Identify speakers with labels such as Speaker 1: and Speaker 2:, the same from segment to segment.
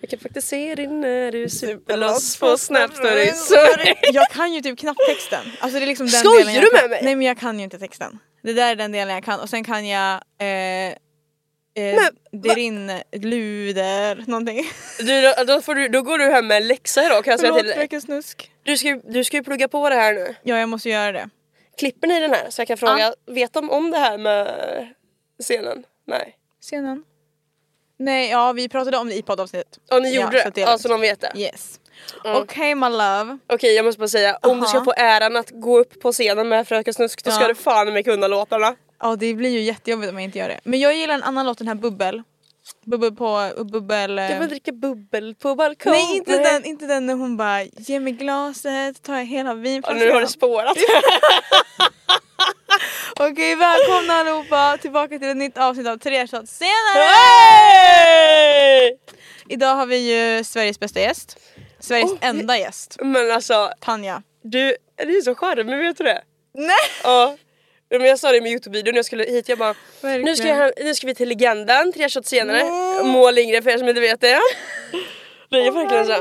Speaker 1: Jag kan faktiskt se din när du super
Speaker 2: Superloss
Speaker 1: loss
Speaker 2: på
Speaker 1: på
Speaker 2: Snapstory.
Speaker 1: Snapstory.
Speaker 2: Jag kan ju typ knappt texten. Alltså det är liksom den
Speaker 1: Skojar
Speaker 2: delen jag
Speaker 1: du
Speaker 2: kan.
Speaker 1: med mig?
Speaker 2: Nej men jag kan ju inte texten. Det där är den delen jag kan och sen kan jag eh, eh, det rinner, luder, någonting.
Speaker 1: Du, då, får du, då går du hem med en läxa idag kan jag säga
Speaker 2: Förlåt
Speaker 1: till
Speaker 2: för
Speaker 1: dig.
Speaker 2: vilken snusk.
Speaker 1: Du ska, ju- du ska ju plugga på det här nu.
Speaker 2: Ja jag måste göra det.
Speaker 1: Klipper ni den här så jag kan fråga,
Speaker 2: Ja.
Speaker 1: vet de om det här med scenen? Nej.
Speaker 2: Scenen. Nej ja vi pratade om det i poddavsnittet.
Speaker 1: Ja ni gjorde
Speaker 2: Ja, så att
Speaker 1: det? Alltså,
Speaker 2: det
Speaker 1: Ja
Speaker 2: är
Speaker 1: så
Speaker 2: lugnt.
Speaker 1: de vet det.
Speaker 2: Yes. Okej my love.
Speaker 1: Okej jag måste bara säga, om du
Speaker 2: Aha.
Speaker 1: ska få äran att gå upp på scenen med Fröken Snusk då ska
Speaker 2: Ja.
Speaker 1: du fan med kunna låtarna.
Speaker 2: Ja det blir ju jättejobbigt om jag inte gör det. Men jag gillar en annan låt den här Bubbel. Bubbel på, bubbel... eh,
Speaker 1: Jag vill dricka bubbel på balkongen.
Speaker 2: Nej inte den, inte den när hon bara ge mig glaset, tar jag hela
Speaker 1: Ja,
Speaker 2: vinflaskan.
Speaker 1: nu har det spårat.
Speaker 2: Okej välkomna allihopa tillbaka till ett nytt avsnitt av Tre shots senare!
Speaker 1: Hey!
Speaker 2: Idag har vi ju Sveriges bästa gäst. Sveriges enda gäst.
Speaker 1: Men alltså
Speaker 2: Tanja.
Speaker 1: Du, du är så charmig, vet du det?
Speaker 2: Nej!
Speaker 1: Ja. Men jag sa det med Youtube-videon när jag skulle hit, jag bara
Speaker 2: Verkligen.
Speaker 1: nu ska, jag, hem- nu ska vi till legenden, tre shots senare. Mål Lindgren för er som inte vet det. Det är verkligen så.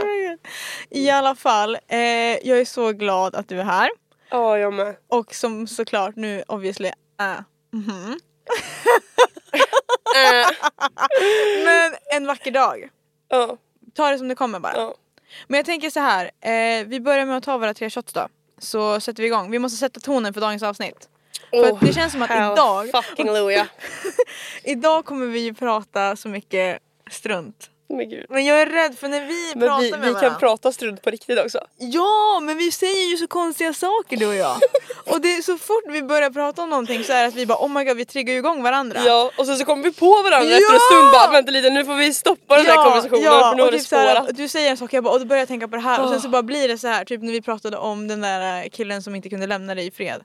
Speaker 2: I alla fall, eh, jag är så glad att du är här.
Speaker 1: Ja, jag med.
Speaker 2: Och som såklart nu obviously är mhm.
Speaker 1: Äh,
Speaker 2: Men en vacker dag.
Speaker 1: ja,
Speaker 2: Ta det som det kommer bara.
Speaker 1: ja.
Speaker 2: Men jag tänker så här, eh, vi börjar med att ta våra tre shots då. Så sätter vi igång. Vi måste sätta tonen för dagens avsnitt. För att det känns som att
Speaker 1: hell
Speaker 2: idag,
Speaker 1: Fucking Louia.
Speaker 2: idag kommer vi ju prata så mycket strunt.
Speaker 1: Men gud.
Speaker 2: Men jag är rädd för när vi
Speaker 1: Men
Speaker 2: pratar
Speaker 1: vi,
Speaker 2: med
Speaker 1: vi
Speaker 2: varandra.
Speaker 1: kan prata strunt på riktigt också.
Speaker 2: ja, men vi säger ju så konstiga saker du och jag. och det, är så fort vi börjar prata om någonting så är det att vi bara oh my god vi triggar ju igång varandra.
Speaker 1: Ja, och sen så kommer vi på varandra
Speaker 2: Ja!
Speaker 1: efter en stund bara vänta lite nu får vi stoppa den här konversationen för nu har
Speaker 2: och
Speaker 1: det
Speaker 2: typ så här,
Speaker 1: spårat. Ah.
Speaker 2: du säger en sak jag bara, och då börjar jag tänka på det här och sen så bara blir det så här typ när vi pratade om den där eh, killen som inte kunde lämna dig i fred.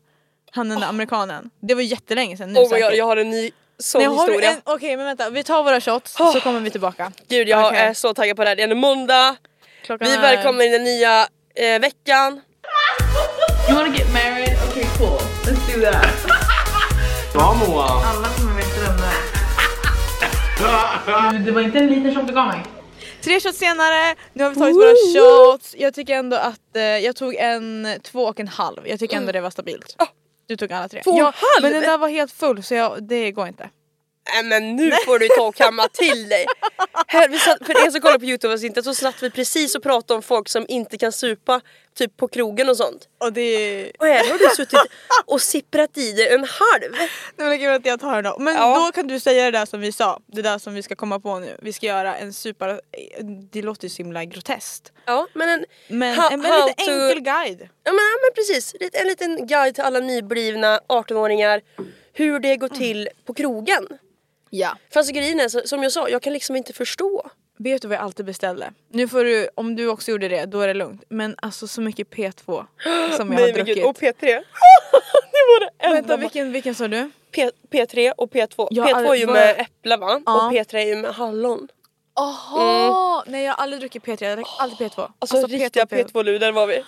Speaker 2: Han den där amerikanen. Det var ju jättelänge sedan nu
Speaker 1: Ah. Oh my
Speaker 2: säkert.
Speaker 1: god, jag har en ny sån
Speaker 2: Nej, har du
Speaker 1: historia. Ah.
Speaker 2: en- Okej men vänta, vi tar våra shots så kommer vi tillbaka.
Speaker 1: Gud jag
Speaker 2: Okej.
Speaker 1: är så taggad på det här. Det är en måndag.
Speaker 2: Klockan
Speaker 1: Vi
Speaker 2: är-
Speaker 1: välkomnar in den nya eh, veckan.
Speaker 3: You wanna get married? Okay, cool. Let's do that. Alla kommer veta vem det är. Det var inte en liten shot du gav mig.
Speaker 2: Tre shots senare, nu har vi tagit våra shots. Jag tycker ändå att eh, jag tog en två och en halv. Jag tycker ändå det var stabilt. Du tog alla tre.
Speaker 1: Mm. Ah. och en
Speaker 2: Ja,
Speaker 1: halv?
Speaker 2: Men den där var helt full så jag, det går inte.
Speaker 1: Nej Äh, men nu får du ta och kamma till dig. Här, vi satt, för er som kollar på youtube och inte så satt vi precis och pratade om folk som inte kan supa typ på krogen och sånt.
Speaker 2: Och det...
Speaker 1: Och här har du suttit och sipprat i dig en halv.
Speaker 2: Nej men gud att jag tar den då. Men
Speaker 1: Ja.
Speaker 2: då kan du säga det där som vi sa. Det där som vi ska komma på nu. Vi ska göra en super... Det låter ju så himla groteskt.
Speaker 1: Ja men en,
Speaker 2: Men
Speaker 1: ha-
Speaker 2: en väldigt
Speaker 1: how
Speaker 2: lite
Speaker 1: to-
Speaker 2: enkel guide.
Speaker 1: Ja men, ja, men precis, Lite- en liten guide till alla nyblivna 18-åringar hur det går till på krogen.
Speaker 2: Ja.
Speaker 1: För alltså grejen är så- som jag sa, jag kan liksom inte förstå.
Speaker 2: Vet du vad jag alltid beställde? Nu får du, om du också gjorde det, då är det lugnt. Men alltså så mycket P2 som jag har druckit.
Speaker 1: och P3. det var det enda.
Speaker 2: Vänta vilken, vilken sa du?
Speaker 1: P- P3 och P2.
Speaker 2: Ja, alltså,
Speaker 1: P2 är ju
Speaker 2: vad-
Speaker 1: med äpple va?
Speaker 2: Ja.
Speaker 1: Och P3 är ju med hallon.
Speaker 2: Aha! Mm. Nej jag har aldrig druckit P3, jag drack alltid P2.
Speaker 1: Alltså, riktiga P2-luder var vi.
Speaker 2: Nej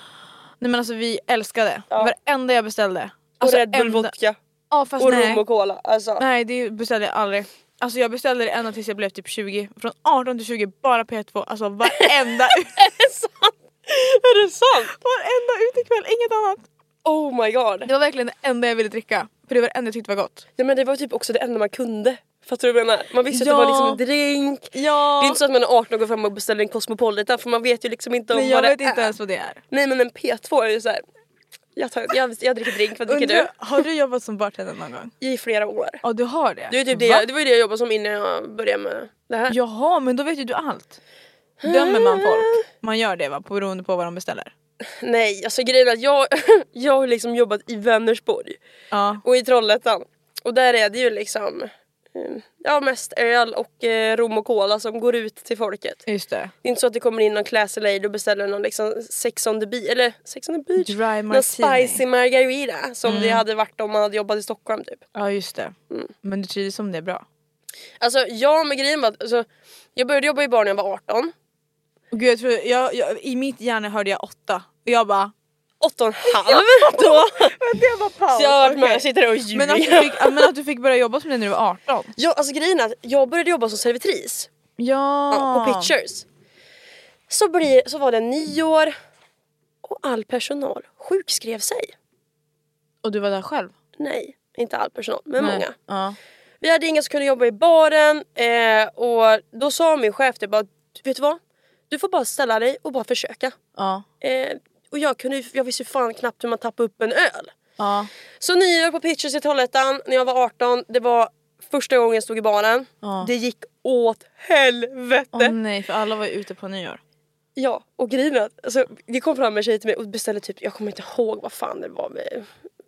Speaker 2: men alltså vi älskade.
Speaker 1: Ja.
Speaker 2: Varenda jag beställde.
Speaker 1: Och
Speaker 2: Alltså,
Speaker 1: Red Bull
Speaker 2: enda-
Speaker 1: vodka.
Speaker 2: Ja fast
Speaker 1: Och
Speaker 2: nej.
Speaker 1: rom och cola. Alltså.
Speaker 2: Nej det beställde jag aldrig. Alltså jag beställde det ända tills jag blev typ 20. Från 18 till 20 bara P2. Alltså varenda,
Speaker 1: Är det sant? Är det sant?
Speaker 2: varenda utekväll, inget annat.
Speaker 1: Oh my god.
Speaker 2: Det var verkligen det enda jag ville dricka. För det var det enda jag tyckte var gott.
Speaker 1: Ja, men det var typ också det enda man kunde. Fattar du vad jag menar? Man visste
Speaker 2: Ja.
Speaker 1: att det var liksom en drink.
Speaker 2: Ja!
Speaker 1: Det är inte så att man är 18 och går fram och beställer en Cosmopolitan för man vet ju liksom inte om
Speaker 2: Nej,
Speaker 1: vad
Speaker 2: jag
Speaker 1: det
Speaker 2: vet
Speaker 1: är.
Speaker 2: inte ens vad det är.
Speaker 1: Nej men en P2 är ju såhär. Jag, tar- jag, jag dricker drink, vad dricker
Speaker 2: Undrar,
Speaker 1: du?
Speaker 2: Har du jobbat som bartender någon gång?
Speaker 1: I flera år.
Speaker 2: Ja du har det?
Speaker 1: Det, är typ det,
Speaker 2: Va?
Speaker 1: jag- det var ju det jag jobbade som innan jag började med det här.
Speaker 2: Jaha men då vet ju du allt. Dömer man folk? Man gör det va? Beroende på vad de beställer.
Speaker 1: Nej, alltså grejen är att jag, jag har liksom jobbat i Vänersborg
Speaker 2: Ja.
Speaker 1: och i Trollhättan. Och där är det ju liksom eh, ja, mest öl och eh, rom och cola som går ut till folket.
Speaker 2: Just det.
Speaker 1: Det är inte så att det kommer in någon classy lady och beställer någon liksom sex on the beach, eller sex on the beach?
Speaker 2: Dry
Speaker 1: någon
Speaker 2: martini. Mm.
Speaker 1: spicy margarita som det hade varit om man hade jobbat i Stockholm typ.
Speaker 2: Ja just det. Mm. Men du trivs om det är bra?
Speaker 1: Alltså jag med grejen var att alltså, jag började jobba i bar när jag var 18.
Speaker 2: Och Gud, jag tror, jag, jag, I mitt hjärna hörde jag åtta och jag bara...
Speaker 1: 8 och en halv då.
Speaker 2: Det var paus!
Speaker 1: Så jag har varit med och sitter och ljuger.
Speaker 2: men, att du fick, ja, men att du fick börja jobba som det när du var 18?
Speaker 1: Ja, alltså grejen är att jag började jobba som servitris
Speaker 2: Ja!
Speaker 1: ja, på Pictures. Så, blir, så var det nio år och all personal sjukskrev sig.
Speaker 2: Och du var där själv?
Speaker 1: Nej, inte all personal, men
Speaker 2: Nej.
Speaker 1: många.
Speaker 2: Ja.
Speaker 1: Vi hade ingen som kunde jobba i baren eh, och då sa min chef det bara, vet du vad? Du får bara ställa dig och bara försöka.
Speaker 2: Ja.
Speaker 1: Eh, och jag, kunde, ju- jag visste ju fan knappt hur man tappade upp en öl.
Speaker 2: Ja.
Speaker 1: Så nio år på Pitchers i Trollhättan när jag var 18. Det var första gången jag stod i baren.
Speaker 2: Ja.
Speaker 1: Det gick åt helvete.
Speaker 2: Åh nej, för alla var ju ute på nyår.
Speaker 1: Ja, och grejen är att alltså, det kom fram en tjej till mig och beställde typ, jag kommer inte ihåg vad fan det var med.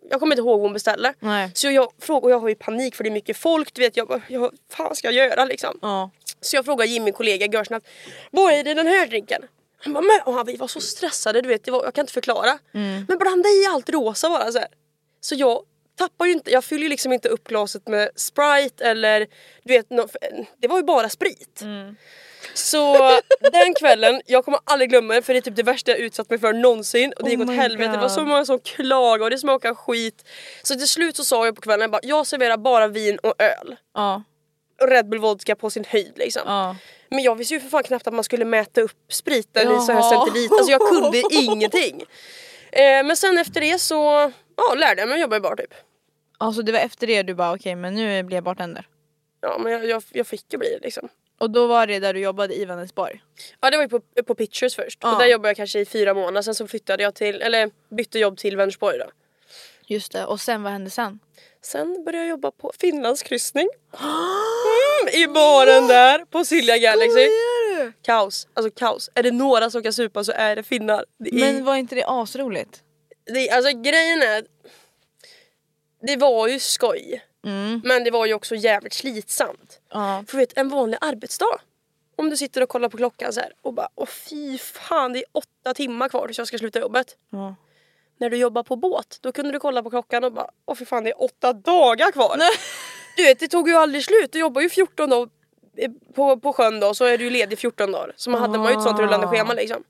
Speaker 1: Jag kommer inte ihåg vad hon beställde.
Speaker 2: Nej.
Speaker 1: Så jag frågade, och jag har ju panik för det är mycket folk, du vet jag bara, jag, fan ska jag göra liksom?
Speaker 2: Ja.
Speaker 1: Så jag frågade Jimmy, kollega, görsnabbt. Vad är det i den här drinken? Han bara, men, och han, vi var så stressade, du vet, det var, jag kan inte förklara.
Speaker 2: Mm.
Speaker 1: Men blanda i allt rosa bara så här. Så jag tappar ju inte, jag fyller ju liksom inte upp glaset med Sprite eller du vet, nå- för- det var ju bara sprit.
Speaker 2: Mm.
Speaker 1: Så den kvällen, jag kommer aldrig glömma det för det är typ det värsta jag utsatt mig för någonsin och det gick
Speaker 2: Oh
Speaker 1: åt
Speaker 2: my
Speaker 1: helvete. Det var så
Speaker 2: God.
Speaker 1: många som klagade och det smakade skit. Så till slut så sa jag på kvällen, jag, bara, jag serverar bara vin och öl.
Speaker 2: Ja.
Speaker 1: Och Red Bull vodka på sin höjd liksom.
Speaker 2: Ja.
Speaker 1: Men jag visste ju för fan knappt att man skulle mäta upp spriten i så här
Speaker 2: Jaha.
Speaker 1: centiliter. Alltså jag kunde ingenting. Eh, men sen efter det så ja, lärde jag mig att jobba i bar typ.
Speaker 2: Alltså det var efter det du bara okej men nu blir jag bartender.
Speaker 1: Ja men jag, jag, jag fick ju bli det liksom.
Speaker 2: Och då var det där du jobbade i Vänersborg?
Speaker 1: Ja det var ju på, på Pictures först.
Speaker 2: Ja.
Speaker 1: Och där jobbade jag kanske i fyra månader. Sen så flyttade jag till, eller bytte jobb till Vänersborg då.
Speaker 2: Just det, och sen vad hände sen?
Speaker 1: Sen började jag jobba på Finlandskryssning. Mm, I baren där på Silja Galaxy. Kaos, alltså kaos. Är det några som kan supa så är det finnar. Det är
Speaker 2: Men var inte det asroligt?
Speaker 1: det, alltså grejen är att det var ju skoj. Men det var ju också jävligt slitsamt.
Speaker 2: Mm. Ja.
Speaker 1: För vet, en vanlig arbetsdag. Om du sitter och kollar på klockan så här och bara åh fy fan det är åtta timmar kvar tills jag ska sluta jobbet.
Speaker 2: Ja.
Speaker 1: När du jobbar på båt då kunde du kolla på klockan och bara åh fy fan det är åtta dagar kvar. Du vet det tog ju aldrig slut. Du jobbar ju 14 dagar eh, på, på sjön då så är du ju ledig 14 dagar. Så man hade man ju ett sånt rullande schema liksom. Eh,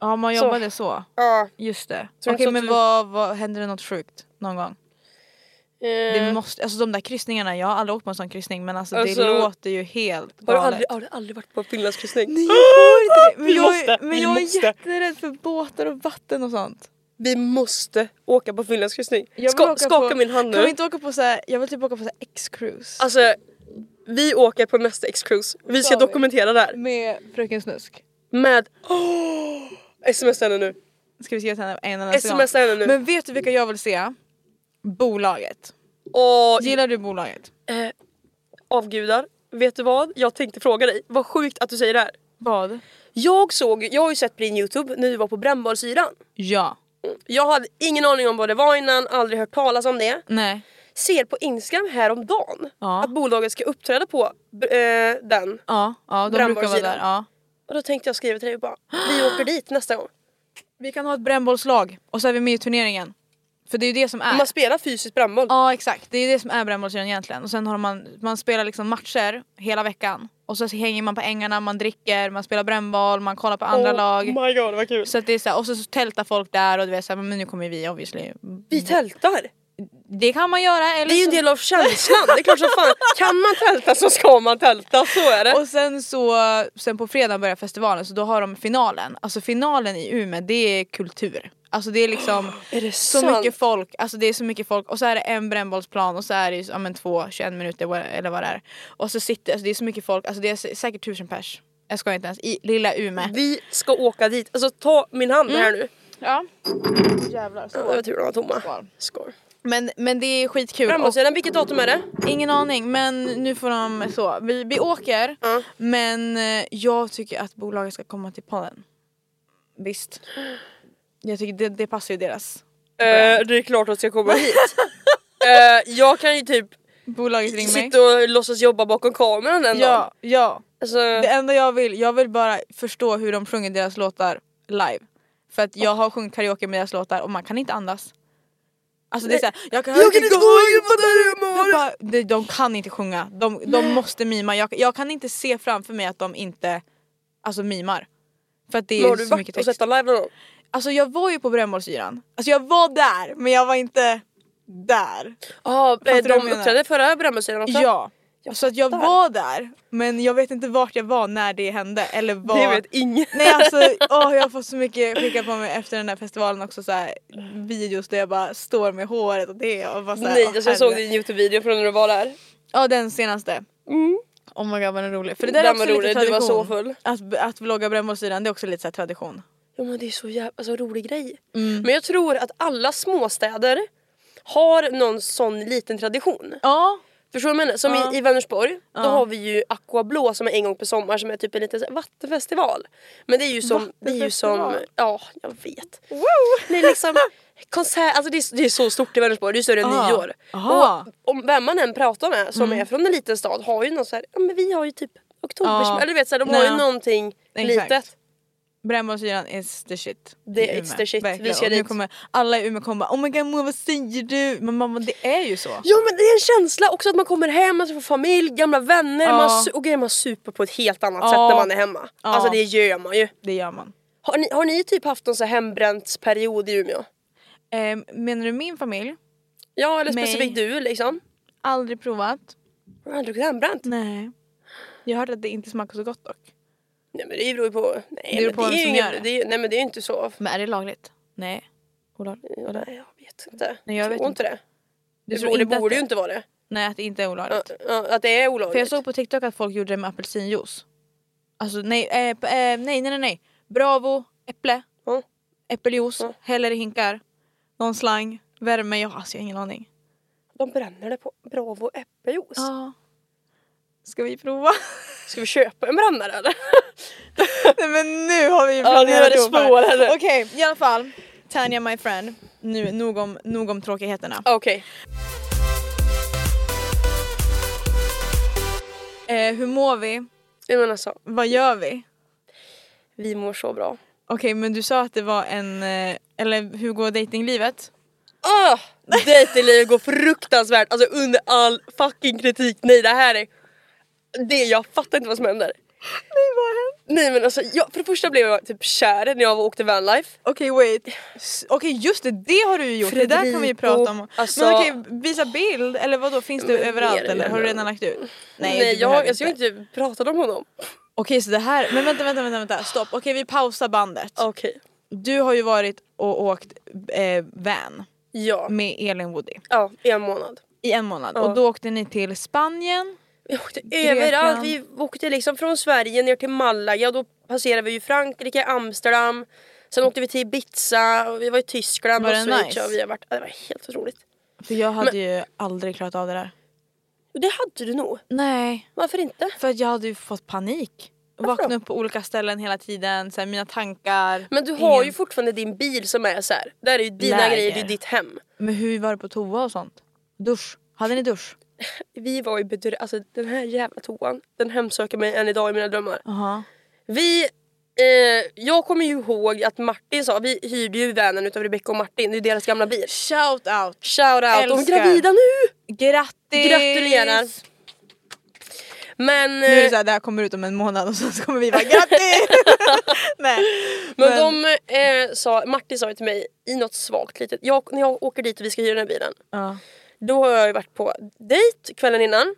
Speaker 2: Ja man
Speaker 1: Så.
Speaker 2: jobbade så.
Speaker 1: Ja.
Speaker 2: Just det.
Speaker 1: Så det
Speaker 2: Okej
Speaker 1: är så
Speaker 2: men
Speaker 1: att du-
Speaker 2: vad, vad, hände det något sjukt någon gång? Det
Speaker 1: Eh,
Speaker 2: måste, alltså de där kryssningarna, jag har aldrig åkt på en sån kryssning men alltså,
Speaker 1: Alltså-
Speaker 2: det låter ju helt
Speaker 1: har, du
Speaker 2: galet.
Speaker 1: aldrig, har du aldrig varit på Finlandskryssning?
Speaker 2: Nej, jag har inte det. Men
Speaker 1: Vi
Speaker 2: jag,
Speaker 1: måste,
Speaker 2: men
Speaker 1: vi
Speaker 2: jag
Speaker 1: måste.
Speaker 2: är jätterädd för båtar och vatten och sånt.
Speaker 1: Vi måste åka på Finlandskryssning.
Speaker 2: Jag vill
Speaker 1: Ska,
Speaker 2: åka
Speaker 1: skaka
Speaker 2: på,
Speaker 1: min hand nu.
Speaker 2: Kan vi inte åka på så här, jag vill typ åka på så här X-cruise.
Speaker 1: Alltså, vi åker på nästa X-cruise. Vi ska
Speaker 2: Ska vi?
Speaker 1: dokumentera det här.
Speaker 2: med Fröken Snusk.
Speaker 1: Med... Oh, sms henne nu.
Speaker 2: Ska vi skriva till henne en eller nästa
Speaker 1: SMS henne nu.
Speaker 2: Men vet du vilka jag vill se? Bolaget.
Speaker 1: Och
Speaker 2: Gillar du bolaget?
Speaker 1: eh, avgudar. Vet du vad? Jag tänkte fråga dig. Vad sjukt att du säger det här.
Speaker 2: Vad?
Speaker 1: Jag såg, jag har ju sett på din youtube när du var på brännbollsyran.
Speaker 2: Ja.
Speaker 1: Jag hade ingen aning om vad det var innan, aldrig hört talas om det.
Speaker 2: Nej.
Speaker 1: Ser på instagram häromdagen
Speaker 2: Ja.
Speaker 1: att bolaget ska uppträda på eh, den.
Speaker 2: Ja, ja de brukar vara
Speaker 1: Brännbollssidan.
Speaker 2: där. Ja.
Speaker 1: Och då tänkte jag skriva till dig och bara vi åker dit nästa gång.
Speaker 2: Vi kan ha ett brännbollslag och så är vi med i turneringen. För det är ju det som är.
Speaker 1: Man spelar fysiskt brännboll.
Speaker 2: Ja exakt, det är det som är brännbollsrun egentligen. Och sen har man, man spelar liksom matcher hela veckan. Och så hänger man på ängarna, man dricker, man spelar brännboll, man kollar på andra lag.
Speaker 1: Oh my god vad kul.
Speaker 2: Så att det är så här, och så tältar folk där och du vet så här, men nu kommer vi obviously.
Speaker 1: Vi tältar!
Speaker 2: Det kan man göra eller
Speaker 1: Det är ju en
Speaker 2: så-
Speaker 1: del av känslan. Det är klart som fan. Kan man tälta så ska man tälta, så är det.
Speaker 2: Och sen så, sen på fredag börjar festivalen så då har de finalen. Alltså finalen i Umeå det är kultur. Alltså det är liksom
Speaker 1: Är det
Speaker 2: så
Speaker 1: sant?
Speaker 2: mycket folk, alltså det är så mycket folk och så är det en brännbollsplan och så är det ju, ja, men två, 21 minuter vad- eller vad det är. Och så sitter, alltså det är så mycket folk, alltså det är sä- säkert tusen pers. Jag ska inte ens, i lilla Umeå.
Speaker 1: Vi ska åka dit. Alltså ta min hand här nu.
Speaker 2: Ja. Jävlar,
Speaker 1: Mm. Det var
Speaker 2: så.
Speaker 1: tur de var tomma.
Speaker 2: Skål.
Speaker 1: Skål.
Speaker 2: Men, men det är skitkul. Och,
Speaker 1: Framgångssidan, vilket datum är det?
Speaker 2: ingen aning men nu får de så, vi, vi åker
Speaker 1: Ja.
Speaker 2: men eh, jag tycker att bolaget ska komma till podden. Visst. Jag tycker det, det passar ju deras.
Speaker 1: Eh, det är klart att jag ska komma hit. Eh, jag kan ju typ
Speaker 2: Bolaget ring mig.
Speaker 1: Sitta och låtsas jobba bakom kameran en dag.
Speaker 2: Ja, ja.
Speaker 1: Alltså,
Speaker 2: Det enda jag vill, jag vill bara förstå hur de sjunger deras låtar live. För att jag har sjungit karaoke med deras låtar och man kan inte andas. Alltså det är såhär, jag kan,
Speaker 1: jag kan inte gå och jobba där jag
Speaker 2: Jag
Speaker 1: mår.
Speaker 2: bara, de, de kan inte sjunga, de, de måste mima. Jag, jag kan inte se framför mig att de inte alltså, mimar. För att det
Speaker 1: Men Har
Speaker 2: är
Speaker 1: du
Speaker 2: så mycket
Speaker 1: varit och sett
Speaker 2: text.
Speaker 1: dem live någon gång?
Speaker 2: Alltså jag var ju på brännbollsyran, alltså jag var där men jag var inte där.
Speaker 1: Ja,
Speaker 2: du
Speaker 1: eh,
Speaker 2: vad jag
Speaker 1: de
Speaker 2: menar?
Speaker 1: uppträdde förra Brännbollsyran också.
Speaker 2: Ja. Så att jag
Speaker 1: Alltså, fattar.
Speaker 2: var där men jag vet inte vart jag var när det hände eller vad.
Speaker 1: Det vet ingen.
Speaker 2: Nej alltså åh, jag har fått så mycket skickat på mig efter den där festivalen också så här, videos där jag bara står med håret och det och bara så här,
Speaker 1: Nej,
Speaker 2: åh,
Speaker 1: alltså jag såg
Speaker 2: herre.
Speaker 1: din Youtube-video från när du var där.
Speaker 2: Ja den senaste. Oh my god vad den är rolig. För det där
Speaker 1: Den
Speaker 2: är också
Speaker 1: var rolig,
Speaker 2: lite
Speaker 1: du
Speaker 2: tradition.
Speaker 1: var så full.
Speaker 2: Att, att vlogga brännbollsyran det är också lite så här tradition.
Speaker 1: Ja men det är så jävla alltså, rolig grej. Men jag tror att alla småstäder har någon sån liten tradition.
Speaker 2: Ja.
Speaker 1: Förstår du vad jag menar? Som
Speaker 2: Ja.
Speaker 1: i, i Vänersborg, då har vi ju Aqua Blå som är en gång per sommar som är typ en liten så här vattenfestival. Men det är ju som, det är ju som,
Speaker 2: Vattenfestival?
Speaker 1: ja jag vet. Det är liksom konsert, alltså det är, det är så stort i Vänersborg, det är större än
Speaker 2: Ja.
Speaker 1: nyår.
Speaker 2: Ah. Aha. Mm.
Speaker 1: Och om vem man än pratar med som är från en liten stad har ju någon så här, ja men vi har ju typ oktober,
Speaker 2: Ja.
Speaker 1: eller du vet så här, de har ju
Speaker 2: Nej.
Speaker 1: någonting
Speaker 2: Exakt.
Speaker 1: litet.
Speaker 2: Brännbollsyran is the shit.
Speaker 1: Det är
Speaker 2: i
Speaker 1: it's
Speaker 2: Umeå.
Speaker 1: the shit. Vi
Speaker 2: Verkligen.
Speaker 1: ska
Speaker 2: Och nu
Speaker 1: dit.
Speaker 2: kommer alla i Umeå kommer bara oh my god Moa vad säger du? Men mamma det är ju så.
Speaker 1: Ja men det är en känsla också att man kommer hem, man får familj, gamla vänner
Speaker 2: Ja.
Speaker 1: man su- och grejer man super på ett helt annat
Speaker 2: Ja.
Speaker 1: sätt när man är hemma. Alltså det gör man ju.
Speaker 2: Det gör man.
Speaker 1: Har ni, har ni typ haft någon så här hembränntsperiod i Umeå?
Speaker 2: Eh, menar du min familj?
Speaker 1: Ja eller
Speaker 2: Nej.
Speaker 1: specifikt du liksom?
Speaker 2: Aldrig provat.
Speaker 1: Har du aldrig druckit hembränt?
Speaker 2: Nej. Jag hörde att det inte smakar så gott dock.
Speaker 1: Nej men det beror ju på... Nej,
Speaker 2: beror
Speaker 1: men
Speaker 2: på
Speaker 1: det
Speaker 2: vem
Speaker 1: är
Speaker 2: som
Speaker 1: ju
Speaker 2: gör det.
Speaker 1: är ju- Nej men det är ju inte så...
Speaker 2: Men är det lagligt? Nej. Olagligt?
Speaker 1: Ja, nej, jag vet inte.
Speaker 2: Nej, jag
Speaker 1: tror
Speaker 2: vet
Speaker 1: inte,
Speaker 2: inte.
Speaker 1: det.
Speaker 2: Du
Speaker 1: Jag tror det
Speaker 2: att
Speaker 1: borde ju inte vara det.
Speaker 2: Nej att det inte är olagligt.
Speaker 1: Ja, ja, att det är
Speaker 2: För jag
Speaker 1: olagligt.
Speaker 2: såg på TikTok att folk gjorde det med apelsinjuice. Alltså nej, eh, p- eh, nej, nej, nej, nej. Bravo, äpple,
Speaker 1: Ja.
Speaker 2: äppeljuice,
Speaker 1: Ja.
Speaker 2: häller i hinkar, någon slang, värme. Jag, alltså, jag har ingen aning.
Speaker 1: De bränner det på Bravo äppeljuice.
Speaker 2: Ja. Ska vi prova?
Speaker 1: Ska vi köpa en brännare eller?
Speaker 2: nej men nu har vi ju
Speaker 1: Ja, nu är det
Speaker 2: ihop här.
Speaker 1: spår, eller?
Speaker 2: Okej, i alla fall. Tanja my friend. Nu, nog om, nog om tråkigheterna.
Speaker 1: Okej.
Speaker 2: Eh, hur mår vi?
Speaker 1: Nej men alltså,
Speaker 2: Vad gör vi?
Speaker 1: vi mår så bra.
Speaker 2: Okej men du sa att det var en, eh, eller hur går dejtinglivet?
Speaker 1: Ah, Dejtinglivet går fruktansvärt, alltså under all fucking kritik. Nej det här är... Det, jag fattar inte vad som händer. Nej men alltså, jag, för det första blev jag typ kär när jag var- åkte vanlife.
Speaker 2: Okej wait. S- Okej just det, det har du ju gjort. Det där kan vi ju
Speaker 1: Fredrico,
Speaker 2: prata om.
Speaker 1: alltså-
Speaker 2: men okej, visa bild eller vadå finns det
Speaker 1: Men
Speaker 2: överallt
Speaker 1: mer
Speaker 2: eller har du
Speaker 1: eller-
Speaker 2: redan lagt ut?
Speaker 1: Nej,
Speaker 2: du
Speaker 1: jag,
Speaker 2: behöver
Speaker 1: alltså, jag har inte pratat om honom.
Speaker 2: Okej så det här, men vänta vänta vänta, vänta. stopp. Okej vi pausar bandet.
Speaker 1: Okej.
Speaker 2: Du har ju varit och åkt eh, van
Speaker 1: Ja.
Speaker 2: med Elin Woody
Speaker 1: ja, en månad.
Speaker 2: i en månad
Speaker 1: Ja.
Speaker 2: och då åkte ni till Spanien.
Speaker 1: Vi åkte
Speaker 2: Grekland.
Speaker 1: överallt. Vi åkte liksom från Sverige ner till Malaga. Då passerade vi ju Frankrike, Amsterdam. Sen åkte vi till Ibiza. Och vi var i Tyskland
Speaker 2: Var
Speaker 1: och
Speaker 2: det
Speaker 1: Schweiz.
Speaker 2: nice?
Speaker 1: Ja, vi har varit, ja, det var helt otroligt.
Speaker 2: För jag hade ju aldrig klarat av det där.
Speaker 1: Och det hade du nog.
Speaker 2: Nej,
Speaker 1: Varför inte?
Speaker 2: för att jag hade ju fått panik. Vakna upp på olika ställen hela tiden, så här, mina tankar.
Speaker 1: Men du har
Speaker 2: ingen-
Speaker 1: ju fortfarande din bil som är så här. Där är ju dina
Speaker 2: Läger.
Speaker 1: grejer, det är ditt hem.
Speaker 2: Men hur var det på toa och sånt? Dusch? Hade ni dusch?
Speaker 1: Vi var ju bedrö... Alltså den här jävla toan, den hemsöker mig än idag i mina drömmar.
Speaker 2: Aha.
Speaker 1: Vi... Eh, jag kommer ju ihåg att Martin sa, vi hyrde ju vanen utav Rebecca och Martin, det är ju deras gamla bil.
Speaker 2: Shout out!
Speaker 1: Shout out, de är
Speaker 2: Älskar.
Speaker 1: gravida nu!
Speaker 2: Grattis!
Speaker 1: Gratulerar. Men,
Speaker 2: Nu är det
Speaker 1: eh,
Speaker 2: såhär, det här kommer ut om en månad och så kommer vi bara grattis! Nej.
Speaker 1: men de eh, sa, Martin sa ju till mig i något svagt litet, jag, när jag åker dit och vi ska hyra den här bilen,
Speaker 2: Ja.
Speaker 1: då har jag ju varit på dejt kvällen innan.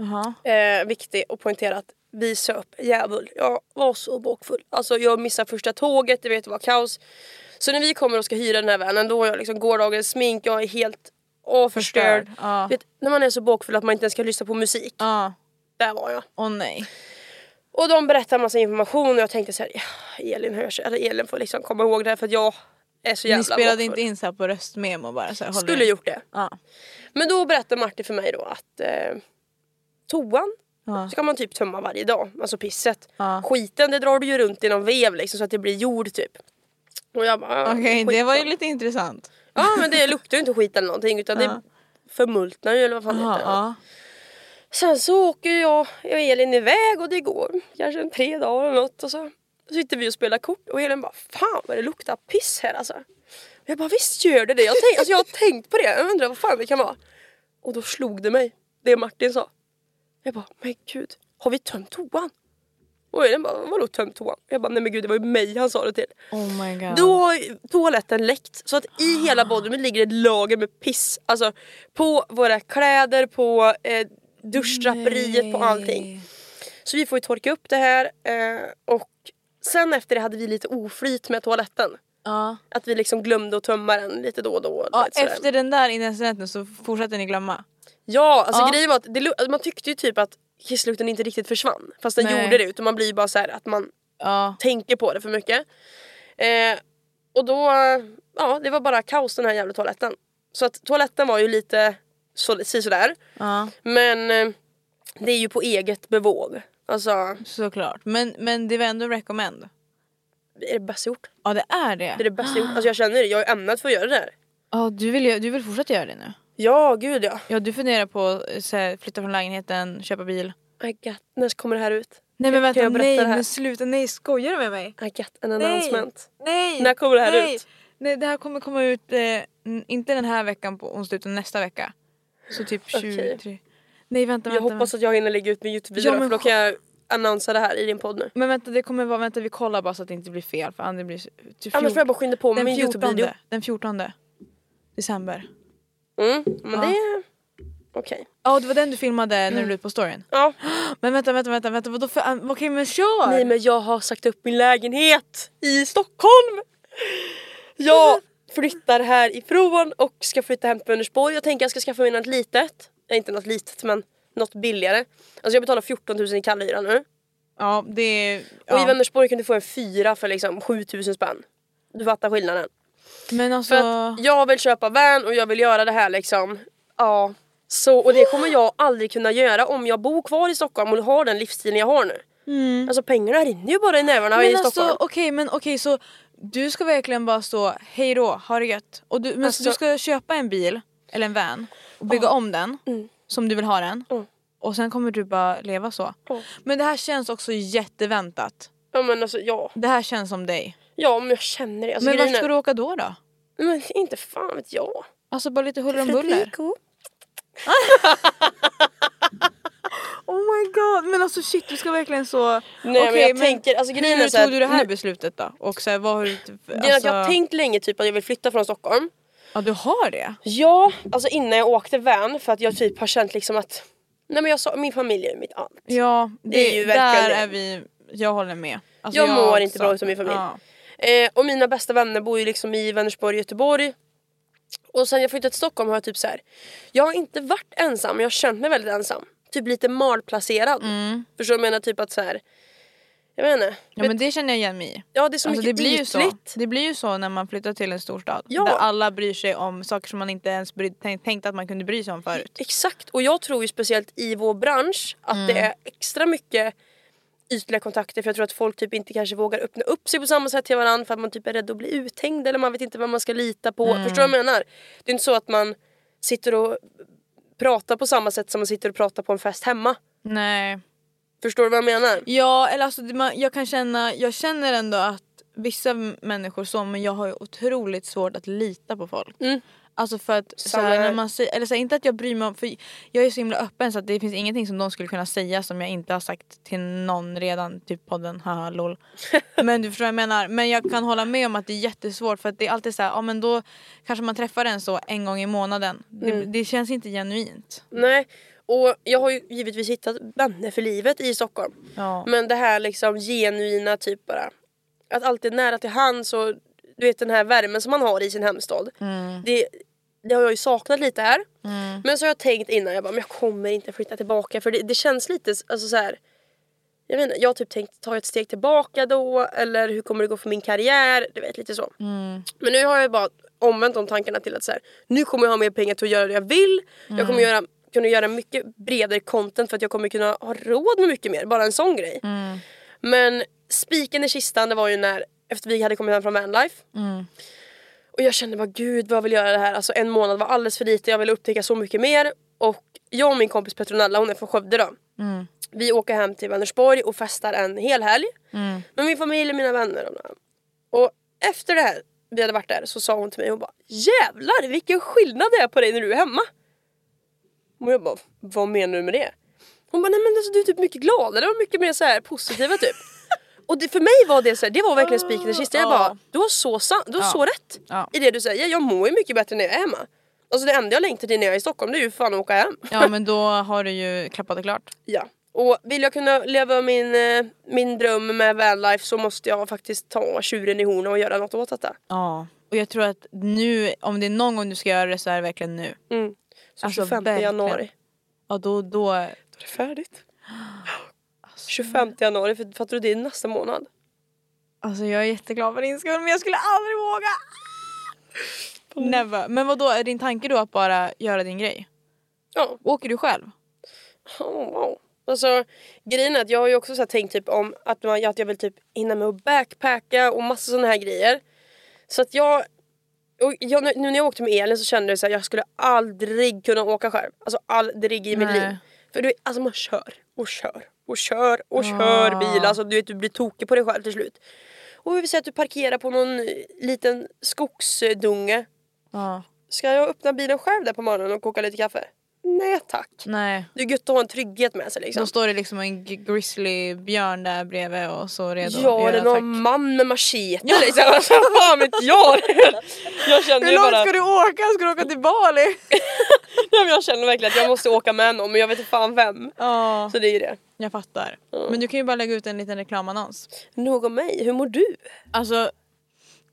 Speaker 2: Aha.
Speaker 1: eh, viktig att poängtera att vi söp djävul. Jag var så bakfull. Alltså jag missade första tåget, det vet det var kaos. Så när vi kommer och ska hyra den här vanen då har jag liksom gårdagens smink, jag är helt åh, förstörd.
Speaker 2: Förstörd, ja.
Speaker 1: Vet, när man är så bakfull att man inte ens kan lyssna på musik.
Speaker 2: Ja.
Speaker 1: Där var jag.
Speaker 2: Åh nej.
Speaker 1: Och de berättar massa information och jag tänkte så här, ja, Elin hörs, eller Elin får liksom komma ihåg det här för att jag är så jävla
Speaker 2: Ni spelade
Speaker 1: bakfull.
Speaker 2: inte in så här på röstmemo bara? Så här, håller
Speaker 1: Skulle
Speaker 2: ni-
Speaker 1: gjort det.
Speaker 2: Ja.
Speaker 1: Men då berättar Martin för mig då att eh, toan
Speaker 2: Ja.
Speaker 1: så kan man typ tömma varje dag, alltså pisset.
Speaker 2: Ja.
Speaker 1: Skiten det drar du ju runt i någon vev liksom så att det blir jord typ. Och jag bara, ja,
Speaker 2: Okej,
Speaker 1: skit
Speaker 2: det var ju
Speaker 1: då.
Speaker 2: lite intressant.
Speaker 1: Ja men det luktar ju inte skit eller någonting utan det
Speaker 2: Ja.
Speaker 1: förmultnar ju eller vad fan det
Speaker 2: Ja,
Speaker 1: heter.
Speaker 2: ja.
Speaker 1: Sen så åker jag och Elin iväg och det går kanske en tre dagar eller något och så sitter vi och spelar kort och Elin bara fan vad det luktar piss här alltså. Och jag bara visst gör det det. Jag, tänk, alltså, jag har tänkt på det. Jag undrar vad fan det kan vara. Och då slog det mig det Martin sa. Jag bara men gud har vi tömt toan? Och Elin bara vadå tömt toan? Jag bara nej men gud det var ju mig han sa det till.
Speaker 2: Oh my god.
Speaker 1: Då har ju toaletten läckt så att i hela badrummet ligger ett lager med piss. Alltså på våra kläder, på eh, duschdraperiet, på allting. Så vi får ju torka upp det här eh, och sen efter det hade vi lite oflyt med toaletten.
Speaker 2: Ja.
Speaker 1: Att vi liksom glömde att tömma den lite då och då.
Speaker 2: Ja,
Speaker 1: lite sådär.
Speaker 2: efter den där incidenten så fortsatte ni glömma.
Speaker 1: Ja, alltså
Speaker 2: Ja.
Speaker 1: grejen var att det, lu- man tyckte ju typ att kisslukten inte riktigt försvann. Fast den
Speaker 2: Nej.
Speaker 1: gjorde det utan man blir bara så här att man
Speaker 2: Ja.
Speaker 1: tänker på det för mycket. Eh, och då, ja det var bara kaos den här jävla toaletten. Så att toaletten var ju lite så, si sådär.
Speaker 2: ja.
Speaker 1: Men eh, det är ju på eget bevåg. Alltså, är
Speaker 2: Såklart. Men, men det var ändå en recommend.
Speaker 1: det bäst gjort?
Speaker 2: Ja det är det.
Speaker 1: Det är det bästa gjort. Alltså jag känner det, jag är ämnad för att göra det här.
Speaker 2: Ja, du, vill, ju- du vill fortsätta göra det nu?
Speaker 1: Ja, gud ja.
Speaker 2: Ja du funderar på att så här, flytta från lägenheten, köpa bil.
Speaker 1: I got, när kommer det här ut?
Speaker 2: Nej men
Speaker 1: Kan
Speaker 2: vänta,
Speaker 1: jag berätta
Speaker 2: nej
Speaker 1: det här?
Speaker 2: men sluta, nej skojar du med mig?
Speaker 1: I got an
Speaker 2: Nej.
Speaker 1: announcement.
Speaker 2: Nej!
Speaker 1: När kommer det här
Speaker 2: nej.
Speaker 1: ut?
Speaker 2: Nej det här kommer komma ut, eh, n- inte den här veckan på onsdag utan nästa vecka. Så typ
Speaker 1: Okej.
Speaker 2: 23. Nej vänta
Speaker 1: Jag
Speaker 2: vänta.
Speaker 1: hoppas
Speaker 2: vänta.
Speaker 1: att jag hinner lägga ut min
Speaker 2: Ja,
Speaker 1: Youtube-video
Speaker 2: men
Speaker 1: för då kan jag annonsera det här i din podd nu.
Speaker 2: Men vänta det kommer vara, vänta vi kollar bara så att det inte blir fel för annars blir det till
Speaker 1: Annars får jag
Speaker 2: fjort-
Speaker 1: bara skynda på med
Speaker 2: den
Speaker 1: min
Speaker 2: 14,
Speaker 1: Youtube-video.
Speaker 2: den 14 december.
Speaker 1: Mm, men det är... Okej.
Speaker 2: Ja det var den du filmade när du la ut på storyn.
Speaker 1: Ja.
Speaker 2: Men vänta vänta vänta, vänta vadå för, an- okej men kör!
Speaker 1: Nej men jag har sagt upp min lägenhet i Stockholm! Jag
Speaker 2: Mm.
Speaker 1: flyttar härifrån och ska flytta hem till Vänersborg. Jag tänker jag ska skaffa mig något litet. Eh, Inte något litet men något billigare. Alltså jag betalar 14 000 i kallhyra nu.
Speaker 2: Ja det är...
Speaker 1: Och i
Speaker 2: Ja.
Speaker 1: Vänersborg kan du få en fyra för liksom 7 000 spänn. Du fattar skillnaden.
Speaker 2: Men alltså...
Speaker 1: För att jag vill köpa van och jag vill göra det här liksom. Ja. Så, och det kommer jag aldrig kunna göra om jag bor kvar i Stockholm och har den livsstilen jag har nu. Alltså pengarna rinner ju bara i nerverna i
Speaker 2: Mm. Men
Speaker 1: Stockholm.
Speaker 2: alltså okej men okej så du ska verkligen bara stå hej då, ha det gött. Och du, men så du
Speaker 1: Alltså-
Speaker 2: ska köpa en bil eller en van och bygga om den som du vill ha den.
Speaker 1: Mm.
Speaker 2: Och sen kommer du bara leva så.
Speaker 1: Ja.
Speaker 2: Men det här känns också jätteväntat.
Speaker 1: Ja men alltså ja.
Speaker 2: Det här känns som dig.
Speaker 1: Ja men jag känner det. Alltså,
Speaker 2: men vart
Speaker 1: grejen
Speaker 2: ska
Speaker 1: är-
Speaker 2: du åka då då?
Speaker 1: Men inte fan vet jag.
Speaker 2: Alltså bara lite huller om buller.
Speaker 1: Fredrico.
Speaker 2: Oh my god men alltså shit du ska verkligen så...
Speaker 1: Nej men jag tänker, alltså grejen är
Speaker 2: hur
Speaker 1: så här,
Speaker 2: tog du det här
Speaker 1: nu-
Speaker 2: beslutet då? Och så här, vad har du... alltså-
Speaker 1: Grejen är att jag har tänkt länge typ att jag vill flytta från Stockholm.
Speaker 2: Ja du har det?
Speaker 1: Ja, alltså innan jag åkte van för att jag typ har känt liksom att Nej men jag sa, min familj är mitt allt.
Speaker 2: Ja, det,
Speaker 1: är ju
Speaker 2: där
Speaker 1: verkligen det.
Speaker 2: är vi, jag håller med. Alltså,
Speaker 1: Jag mår
Speaker 2: också.
Speaker 1: inte bra utan min familj.
Speaker 2: Ja.
Speaker 1: Eh, och mina bästa vänner bor ju liksom i Vänersborg, Göteborg. Och sen jag flyttade till Stockholm har jag typ så här. Jag har inte varit ensam, jag har känt mig väldigt ensam. Typ lite malplacerad. Förstår du vad jag menar? Typ att så här. Jag vet inte.
Speaker 2: Mm. ja men det känner jag igen mig i.
Speaker 1: Ja det är så
Speaker 2: Alltså, det,
Speaker 1: mycket
Speaker 2: blir ju så.
Speaker 1: ytligt.
Speaker 2: det blir ju så när man flyttar till en storstad.
Speaker 1: Ja.
Speaker 2: Där alla bryr sig om saker som man inte ens bry, tänk, tänkte att man kunde bry sig om förut.
Speaker 1: Exakt, och jag tror ju speciellt i vår bransch att det är extra mycket ytliga kontakter för jag tror att folk typ inte kanske vågar öppna upp sig på samma sätt till varandra för att man typ är rädd att bli uthängd eller man vet inte vad man ska lita på. Förstår du vad jag menar? Det är inte så att man sitter och pratar på samma sätt som man sitter och pratar på en fest hemma.
Speaker 2: Nej.
Speaker 1: Förstår du vad jag menar?
Speaker 2: Ja eller alltså det- man, jag kan känna, jag känner ändå att vissa m- människor så men jag har ju otroligt svårt att lita på folk. Alltså för att
Speaker 1: Samma
Speaker 2: såhär, när
Speaker 1: här.
Speaker 2: man säger, eller såhär, inte att jag bryr mig om, för jag är så himla öppen så att det finns ingenting som de skulle kunna säga som jag inte har sagt till någon redan, typ podden, haha lol. Men du förstår vad jag menar, men jag kan hålla med om att det är jättesvårt för att det är alltid såhär, ja men då kanske man träffar en så en gång i månaden. Det, det känns inte genuint.
Speaker 1: Nej. Och jag har ju givetvis hittat vänner för livet i Stockholm.
Speaker 2: Ja.
Speaker 1: Men det här liksom genuina typ bara. Att alltid nära till hands och du vet den här värmen som man har i sin hemstad. Det, det har jag ju saknat lite här. Men så har jag tänkt innan, jag bara men jag kommer inte flytta tillbaka för det, det känns lite alltså så här. Jag vet inte, jag har typ tänkt ta ett steg tillbaka då eller hur kommer det gå för min karriär? Du vet lite så. Men nu har jag bara omvänt de tankarna till att så här, nu kommer jag ha mer pengar till att göra det jag vill. Jag kommer göra, kunna göra mycket bredare content för att jag kommer kunna ha råd med mycket mer. Bara en sån grej. Men spiken i kistan det var ju när efter vi hade kommit hem från vanlife. Och jag kände bara gud vad jag vill göra det här. Alltså en månad var alldeles för lite. Jag ville upptäcka så mycket mer. Och jag och min kompis Petronella, hon är från Skövde då. Vi åker hem till Vänersborg och festar en hel helg.
Speaker 2: Mm.
Speaker 1: Med min familj och mina vänner. Och, bla. och efter det här, vi hade varit där, så sa hon till mig, hon bara Jävlar vilken skillnad det är på dig när du är hemma. Och jag bara, vad menar du med det? Hon bara, nej men alltså, du är typ mycket gladare och mycket mer så här positiva typ. Och det, för mig var det så här, det var verkligen spiken i kistan. Jag bara, du har så, san- du har så rätt
Speaker 2: Ja.
Speaker 1: i det du säger. Jag mår ju mycket bättre när jag är hemma. Alltså det enda jag längtar till när jag är i Stockholm det är ju fan att åka hem.
Speaker 2: Ja men då har du ju klappat och klart.
Speaker 1: Ja. Och vill jag kunna leva min, eh, min dröm med vanlife så måste jag faktiskt ta tjuren i hornen och göra något åt detta.
Speaker 2: Ja. Och jag tror att nu, om det är någon gång du ska göra det så är det verkligen nu.
Speaker 1: Mm. Så
Speaker 2: Alltså,
Speaker 1: 25
Speaker 2: verkligen.
Speaker 1: januari,
Speaker 2: Ja då, då
Speaker 1: då är det färdigt. 25 januari, för fattar du det är nästa månad.
Speaker 2: Alltså jag är jätteglad för din skull men jag skulle aldrig våga. Ah! Never. Men vad då är din tanke då att bara göra din grej?
Speaker 1: Ja.
Speaker 2: Åker du själv?
Speaker 1: Oh, wow. Alltså, grejen är att jag har ju också så här tänkt typ om att, man, att jag vill typ hinna med att backpacka och massa sådana här grejer. Så att jag, och jag... Nu när jag åkte med Elin så kände jag så här, jag skulle aldrig kunna åka själv. Alltså aldrig i mitt
Speaker 2: Nej.
Speaker 1: liv. För du vet, alltså man kör och kör och kör och kör bil. Alltså du vet, du blir tokig på dig själv till slut. Och vi säger att du parkerar på någon eh, liten skogsdunge.
Speaker 2: Ja.
Speaker 1: Ska jag öppna bilen själv där på morgonen och koka lite kaffe? Nej tack.
Speaker 2: Nej.
Speaker 1: Det är gött att ha en trygghet med sig liksom.
Speaker 2: Då står det liksom en g- grizzlybjörn där bredvid och så redo. att
Speaker 1: Ja
Speaker 2: göra
Speaker 1: eller någon
Speaker 2: attack.
Speaker 1: man med machete liksom. Alltså, fan vet jag. Jag känner
Speaker 2: Hur
Speaker 1: ju
Speaker 2: långt
Speaker 1: bara,
Speaker 2: ska du åka? Ska du åka till Bali?
Speaker 1: Nej, men jag känner verkligen att jag måste åka med någon men jag vet inte fan vem.
Speaker 2: Ja,
Speaker 1: Så det är ju det.
Speaker 2: jag fattar. Men du kan ju bara lägga ut en liten reklamannons.
Speaker 1: Nog om mig, hur mår du?
Speaker 2: Alltså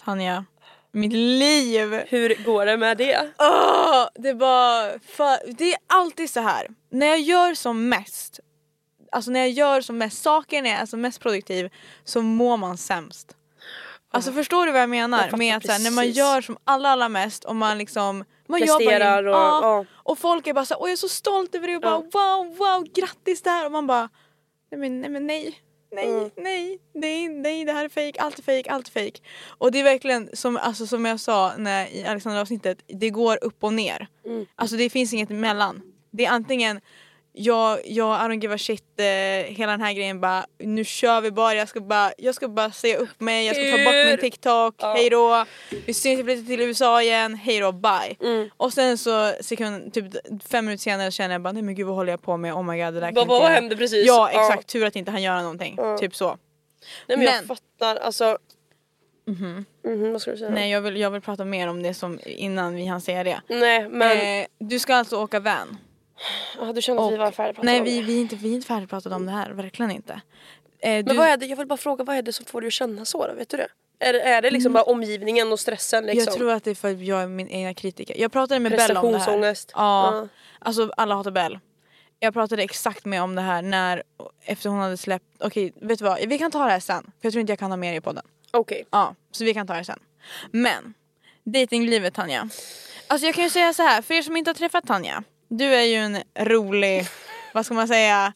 Speaker 2: Tanja, mitt liv!
Speaker 1: Hur går det med det?
Speaker 2: Åh, det var för, Det är alltid så här. När jag gör som mest, alltså när jag gör som mest saker, när jag är som mest produktiv, så mår man sämst. Alltså förstår du vad jag menar?
Speaker 1: fattar
Speaker 2: med att så här, när man
Speaker 1: precis.
Speaker 2: gör som alla allra mest och man liksom man
Speaker 1: Presterar
Speaker 2: jobbar
Speaker 1: och-
Speaker 2: ja,
Speaker 1: ja.
Speaker 2: och folk är bara så här, åh jag är så stolt över det och bara wow wow grattis där och man bara nej men nej men nej nej nej nej nej det här är fejk allt är fejk allt är fejk och det är verkligen som, alltså, som jag sa när, i Alexandra avsnittet det går upp och ner alltså det finns inget emellan det är antingen jag, jag, I don't give a shit, eh, hela den här grejen bara nu kör vi bara, jag ska bara, jag ska bara säga upp mig, jag ska ta bort min
Speaker 1: Hur?
Speaker 2: TikTok, hej då, vi syns, jag flyttar till USA igen, hej då, bye. Och sen så sekund, typ fem minuter senare känner jag bara nej men gud vad håller jag på med, oh my god det där kan
Speaker 1: Vad-
Speaker 2: inte
Speaker 1: vad
Speaker 2: jag-
Speaker 1: hände precis?
Speaker 2: Ja
Speaker 1: Ja.
Speaker 2: exakt, tur att inte han gör någonting, typ så.
Speaker 1: Nej men,
Speaker 2: Men-
Speaker 1: jag fattar alltså. Mhm, vad ska du säga?
Speaker 2: Nej jag vill, jag vill prata mer om det som innan vi hann säga det.
Speaker 1: Nej, men
Speaker 2: Eh, du ska alltså åka van.
Speaker 1: ah, du kände att vi var färdigpratade
Speaker 2: Nej
Speaker 1: om
Speaker 2: vi,
Speaker 1: det.
Speaker 2: vi, är inte, vi är inte färdigpratade om det här, verkligen inte. Eh, du,
Speaker 1: Men vad är det, jag vill bara fråga vad är det som får dig att känna så då? Vet du det? Är, det- är det liksom bara omgivningen och stressen liksom?
Speaker 2: Mm. Jag tror att det är för att jag är min egna kritiker. Jag pratade med Bell om det här.
Speaker 1: Prestationsångest.
Speaker 2: Ja.
Speaker 1: Ja.
Speaker 2: Alltså alla hatar Bell. Jag pratade exakt med om det här när efter hon hade släppt. Okej vet du vad, vi kan ta det här sen. För jag tror inte jag kan ha med det i podden.
Speaker 1: Okej.
Speaker 2: Ja, så vi kan ta det sen. Men, datinglivet Tanja. Alltså jag kan ju säga så här, för er som inte har träffat Tanja. Du är ju en rolig, vad ska man säga,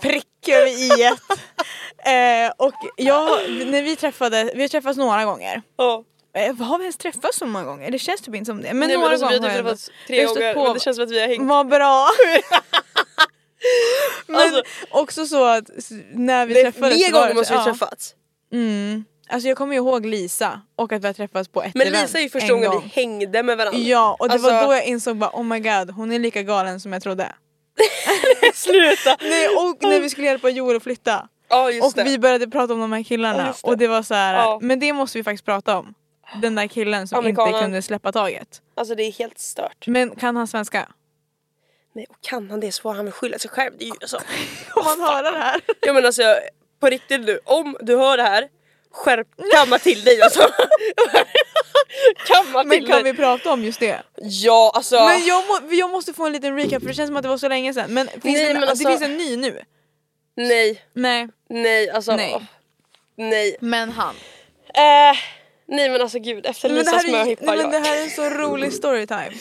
Speaker 2: prick över i eh, Och jag, när vi träffades, vi har träffats några gånger.
Speaker 1: Ja.
Speaker 2: Eh, Har vi ens träffats så många gånger? Det känns typ inte som det. Men
Speaker 1: Nej, men
Speaker 2: några
Speaker 1: alltså, vi
Speaker 2: gånger
Speaker 1: har
Speaker 2: har
Speaker 1: typ
Speaker 2: jag ändå-
Speaker 1: träffats
Speaker 2: vi
Speaker 1: tre
Speaker 2: har
Speaker 1: gånger
Speaker 2: stött på
Speaker 1: men det känns som att vi har hängt.
Speaker 2: Vad bra! men
Speaker 1: Alltså-
Speaker 2: också så att s- när vi
Speaker 1: Det är
Speaker 2: träffades
Speaker 1: Fler
Speaker 2: så var
Speaker 1: gånger
Speaker 2: det
Speaker 1: måste
Speaker 2: så-
Speaker 1: vi
Speaker 2: ja.
Speaker 1: träffats.
Speaker 2: Mm. Alltså jag kommer ju ihåg Lisa och att vi har träffats på ett
Speaker 1: Men
Speaker 2: event
Speaker 1: Lisa är ju
Speaker 2: en
Speaker 1: första gången
Speaker 2: gång.
Speaker 1: vi hängde med varandra.
Speaker 2: Ja och det
Speaker 1: Alltså-
Speaker 2: var då jag insåg bara oh my god hon är lika galen som jag trodde.
Speaker 1: Sluta!
Speaker 2: Nej, och när vi skulle hjälpa Joel att flytta.
Speaker 1: Ja just
Speaker 2: och
Speaker 1: det.
Speaker 2: vi började prata om de här killarna
Speaker 1: Ja, just det.
Speaker 2: och det var så här,
Speaker 1: Ja.
Speaker 2: men det måste vi faktiskt prata om. Den där killen som inte
Speaker 1: Amerikanen.
Speaker 2: kunde släppa taget.
Speaker 1: Alltså det är helt stört.
Speaker 2: Men kan han svenska?
Speaker 1: Men och kan han det så får han väl skylla sig själv. Det är ju alltså.
Speaker 2: Om man höra det här?
Speaker 1: Jag menar alltså jag- på riktigt nu, om du hör det här skärp kamma till dig alltså. kamma
Speaker 2: Men
Speaker 1: till
Speaker 2: kan
Speaker 1: dig.
Speaker 2: vi prata om just det?
Speaker 1: Ja alltså.
Speaker 2: Men jag, må, jag måste få en liten recap för det känns som att det var så länge sedan. Men, finns
Speaker 1: Nej,
Speaker 2: en,
Speaker 1: men alltså-
Speaker 2: det finns en ny nu?
Speaker 1: Nej,
Speaker 2: Nej.
Speaker 1: nej alltså.
Speaker 2: Nej.
Speaker 1: åh, nej.
Speaker 2: Men han.
Speaker 1: Eh, nej men alltså gud efter
Speaker 2: Men det,
Speaker 1: Lisas
Speaker 2: här är, nej,
Speaker 1: möhippa
Speaker 2: men
Speaker 1: jag.
Speaker 2: det här är en så rolig storytime.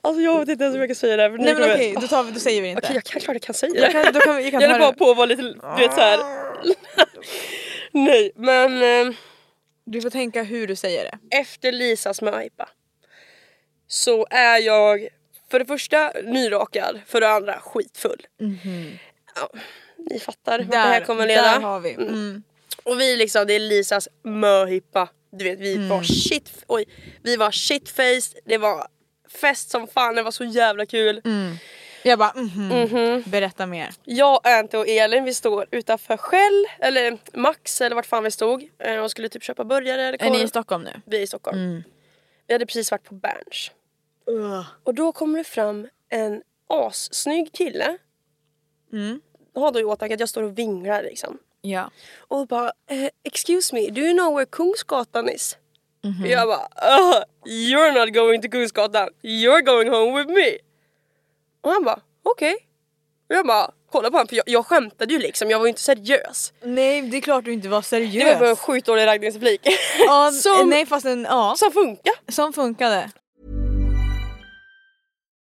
Speaker 1: Alltså jag vet inte ens om jag kan säga det här. för ni
Speaker 2: Nej men
Speaker 1: kommer-
Speaker 2: okej, då, tar vi, då säger vi det inte.
Speaker 1: Okej, jag kan, klart jag kan Ah. säga
Speaker 2: Jag
Speaker 1: det.
Speaker 2: kan, då kan, vi- jag kan
Speaker 1: Jag
Speaker 2: ta
Speaker 1: höll bara
Speaker 2: det.
Speaker 1: på att vara lite, du vet såhär. Nej men. eh,
Speaker 2: Du får tänka hur du säger det.
Speaker 1: efter Lisas möhippa så är jag för det första nyrakad, för det andra skitfull. Mhm. Ja, ni fattar vart det här kommer leda.
Speaker 2: Där har vi. Mm.
Speaker 1: Och vi liksom, det är Lisas möhippa. Du vet vi
Speaker 2: Mm.
Speaker 1: var shit, oj, vi var shitfaced, det var fest som fan, det var så jävla kul.
Speaker 2: Mm. Jag bara mhm. Berätta mer.
Speaker 1: Jag, Ante och Elin vi står utanför Shell, eller Max eller vart fan vi stod eh, och skulle typ köpa burgare eller
Speaker 2: Är ni i
Speaker 1: korv.
Speaker 2: Stockholm Mm. nu?
Speaker 1: Vi är i Stockholm. Vi hade precis varit på Berns. Och då kommer det fram en assnygg kille.
Speaker 2: Mm.
Speaker 1: Har då i åtanke att jag står och vinglar liksom.
Speaker 2: Ja.
Speaker 1: Och bara eh, “excuse me, do you know where Kungsgatan is?” Jag bara "Uh, “you're not going to Kungsgatan, you're going home with me”. Och han bara “okej”. Och jag bara kolla på honom för jag, jag skämtade ju liksom, jag var ju inte seriös.
Speaker 2: Nej det är klart du inte var
Speaker 1: Det var bara en
Speaker 2: seriös.
Speaker 1: sjukt dålig raggningsreplik.
Speaker 2: Ja,
Speaker 1: som,
Speaker 2: Nej fast en, ja.
Speaker 1: som funkar.
Speaker 2: Som funkade.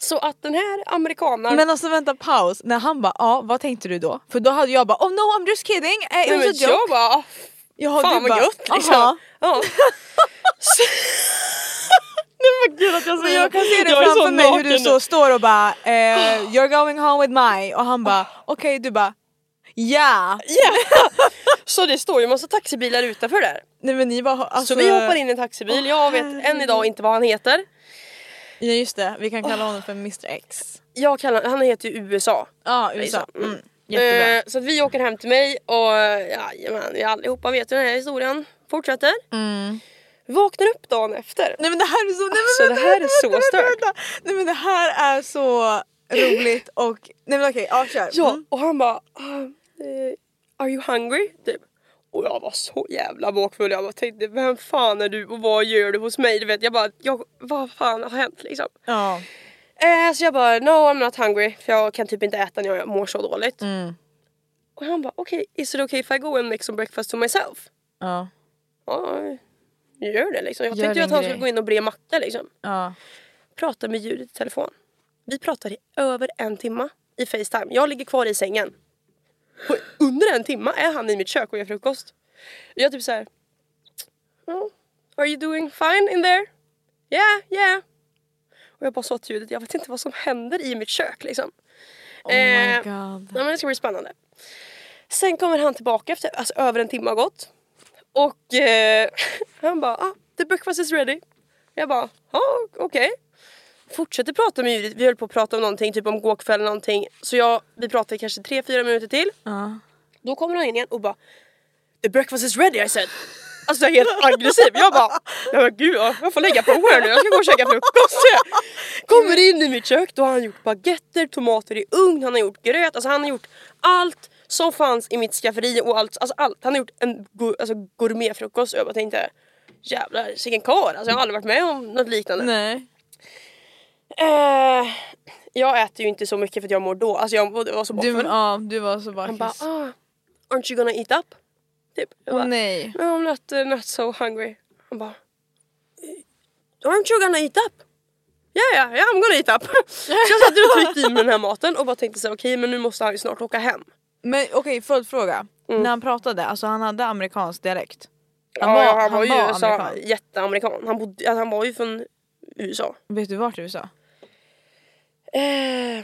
Speaker 1: Så att den här amerikanaren...
Speaker 2: Men alltså vänta paus. När han bara ja vad tänkte du då? För då hade jag bara oh no I'm just kidding. Eh,
Speaker 1: Nej,
Speaker 2: it
Speaker 1: men
Speaker 2: was a
Speaker 1: jag
Speaker 2: joke.
Speaker 1: bara, "Ah,
Speaker 2: Ja, du
Speaker 1: fan vad
Speaker 2: bara,
Speaker 1: gött liksom.
Speaker 2: "Aha."
Speaker 1: Ja. Så- Nej men gud att jag
Speaker 2: Men
Speaker 1: säger
Speaker 2: jag kan se det
Speaker 1: Jag är så
Speaker 2: framför mig hur
Speaker 1: naken nu.
Speaker 2: du så står och bara eh, You're going home with my och han bara okej du bara ja.
Speaker 1: Ja. Så det står ju en massa taxibilar utanför där.
Speaker 2: Nej men ni bara alltså,
Speaker 1: så vi hoppar in i en taxibil, jag vet än idag inte vad han heter.
Speaker 2: Ja just det, vi kan kalla honom för Mr X.
Speaker 1: Jag kallar, han heter ju USA.
Speaker 2: Ja
Speaker 1: USA.
Speaker 2: USA.
Speaker 1: Mm.
Speaker 2: Mm. Jättebra.
Speaker 1: Eh, så att vi åker hem till mig och ja, jajamän, vi allihopa vet ju den här historien fortsätter. Vaknar upp dagen efter.
Speaker 2: Mm. Nej men det här är så, nej, men
Speaker 1: Alltså, det
Speaker 2: vänta,
Speaker 1: här är
Speaker 2: vänta,
Speaker 1: så
Speaker 2: vänta,
Speaker 1: stört.
Speaker 2: vänta. Nej men det här är så roligt och nej men okej ja kör.
Speaker 1: Ja,
Speaker 2: Mm.
Speaker 1: och han bara "Ah, eh, Are you hungry? Typ. Och jag var så jävla bakfull. Jag bara tänkte vem fan är du och vad gör du hos mig? Du vet jag bara jag, vad fan har hänt liksom?
Speaker 2: Ja.
Speaker 1: Eh, så jag bara no I'm not hungry för jag kan typ inte äta när jag mår så dåligt. Och han bara okej is it okay if I go and make some breakfast to myself?
Speaker 2: Ja. Oh
Speaker 1: Ja, gör det liksom. Jag
Speaker 2: Gör
Speaker 1: tänkte ju att
Speaker 2: din
Speaker 1: han
Speaker 2: grej.
Speaker 1: skulle gå in och bre macka liksom.
Speaker 2: Ja.
Speaker 1: Prata med ljudet i telefon. Vi pratade i över en timme i Facetime. Jag ligger kvar i sängen. Och under en timme är han i mitt kök och gör frukost. Jag typ såhär... "Ja, Are you doing fine in there? Yeah, yeah. Och jag bara sa till ljudet, jag vet inte vad som händer i mitt kök liksom.
Speaker 2: Oh my
Speaker 1: Eh.
Speaker 2: god.
Speaker 1: Nej men det ska bli spännande. Sen kommer han tillbaka efter, alltså över en timme har gått. Och eh, han bara, ah, the breakfast is ready. Jag bara, ja ah, okej. Fortsätter prata med Judith, vi höll på att prata om någonting, typ om gåkväll eller någonting. Så jag, vi pratade kanske 3-4 minuter till. Då kommer han in igen och bara, the breakfast is ready I said. Alltså jag är helt aggressiv. Jag bara, nej men gud ja, jag får lägga på här nu, jag ska gå och käka frukost. Kommer in i mitt kök, då har han gjort baguetter, tomater i ugn, han har gjort gröt, alltså han har gjort allt som fanns i mitt skafferi och allt, alltså allt. Han har gjort en go- alltså, gourmetfrukost och jag bara tänkte jävlar vilken karl, alltså jag har aldrig varit med om något liknande.
Speaker 2: Nej.
Speaker 1: Eh, jag äter ju inte så mycket för att jag mår då, alltså jag det var så
Speaker 2: Du,
Speaker 1: bakfull.
Speaker 2: ja, du var så bara,
Speaker 1: Han bara, ah, aren't you gonna eat up? Typ. Jag bara,
Speaker 2: Åh, nej.
Speaker 1: No, I'm not, uh, not so hungry. Han bara... "Eh, Aren't you gonna eat up? Ja, ja, ja, I'm gonna eat up. Så jag satt och tryckte i mig den här maten och bara tänkte så här, okej men nu måste han ju snart åka hem.
Speaker 2: Men okej följdfråga. När han pratade, alltså han hade amerikansk dialekt.
Speaker 1: Mm. Ja, ja, han var ju USA,
Speaker 2: amerikan.
Speaker 1: jätteamerikan. Han, bodde, alltså, han var ju från USA.
Speaker 2: Vet du vart i USA?
Speaker 1: Eh, ja,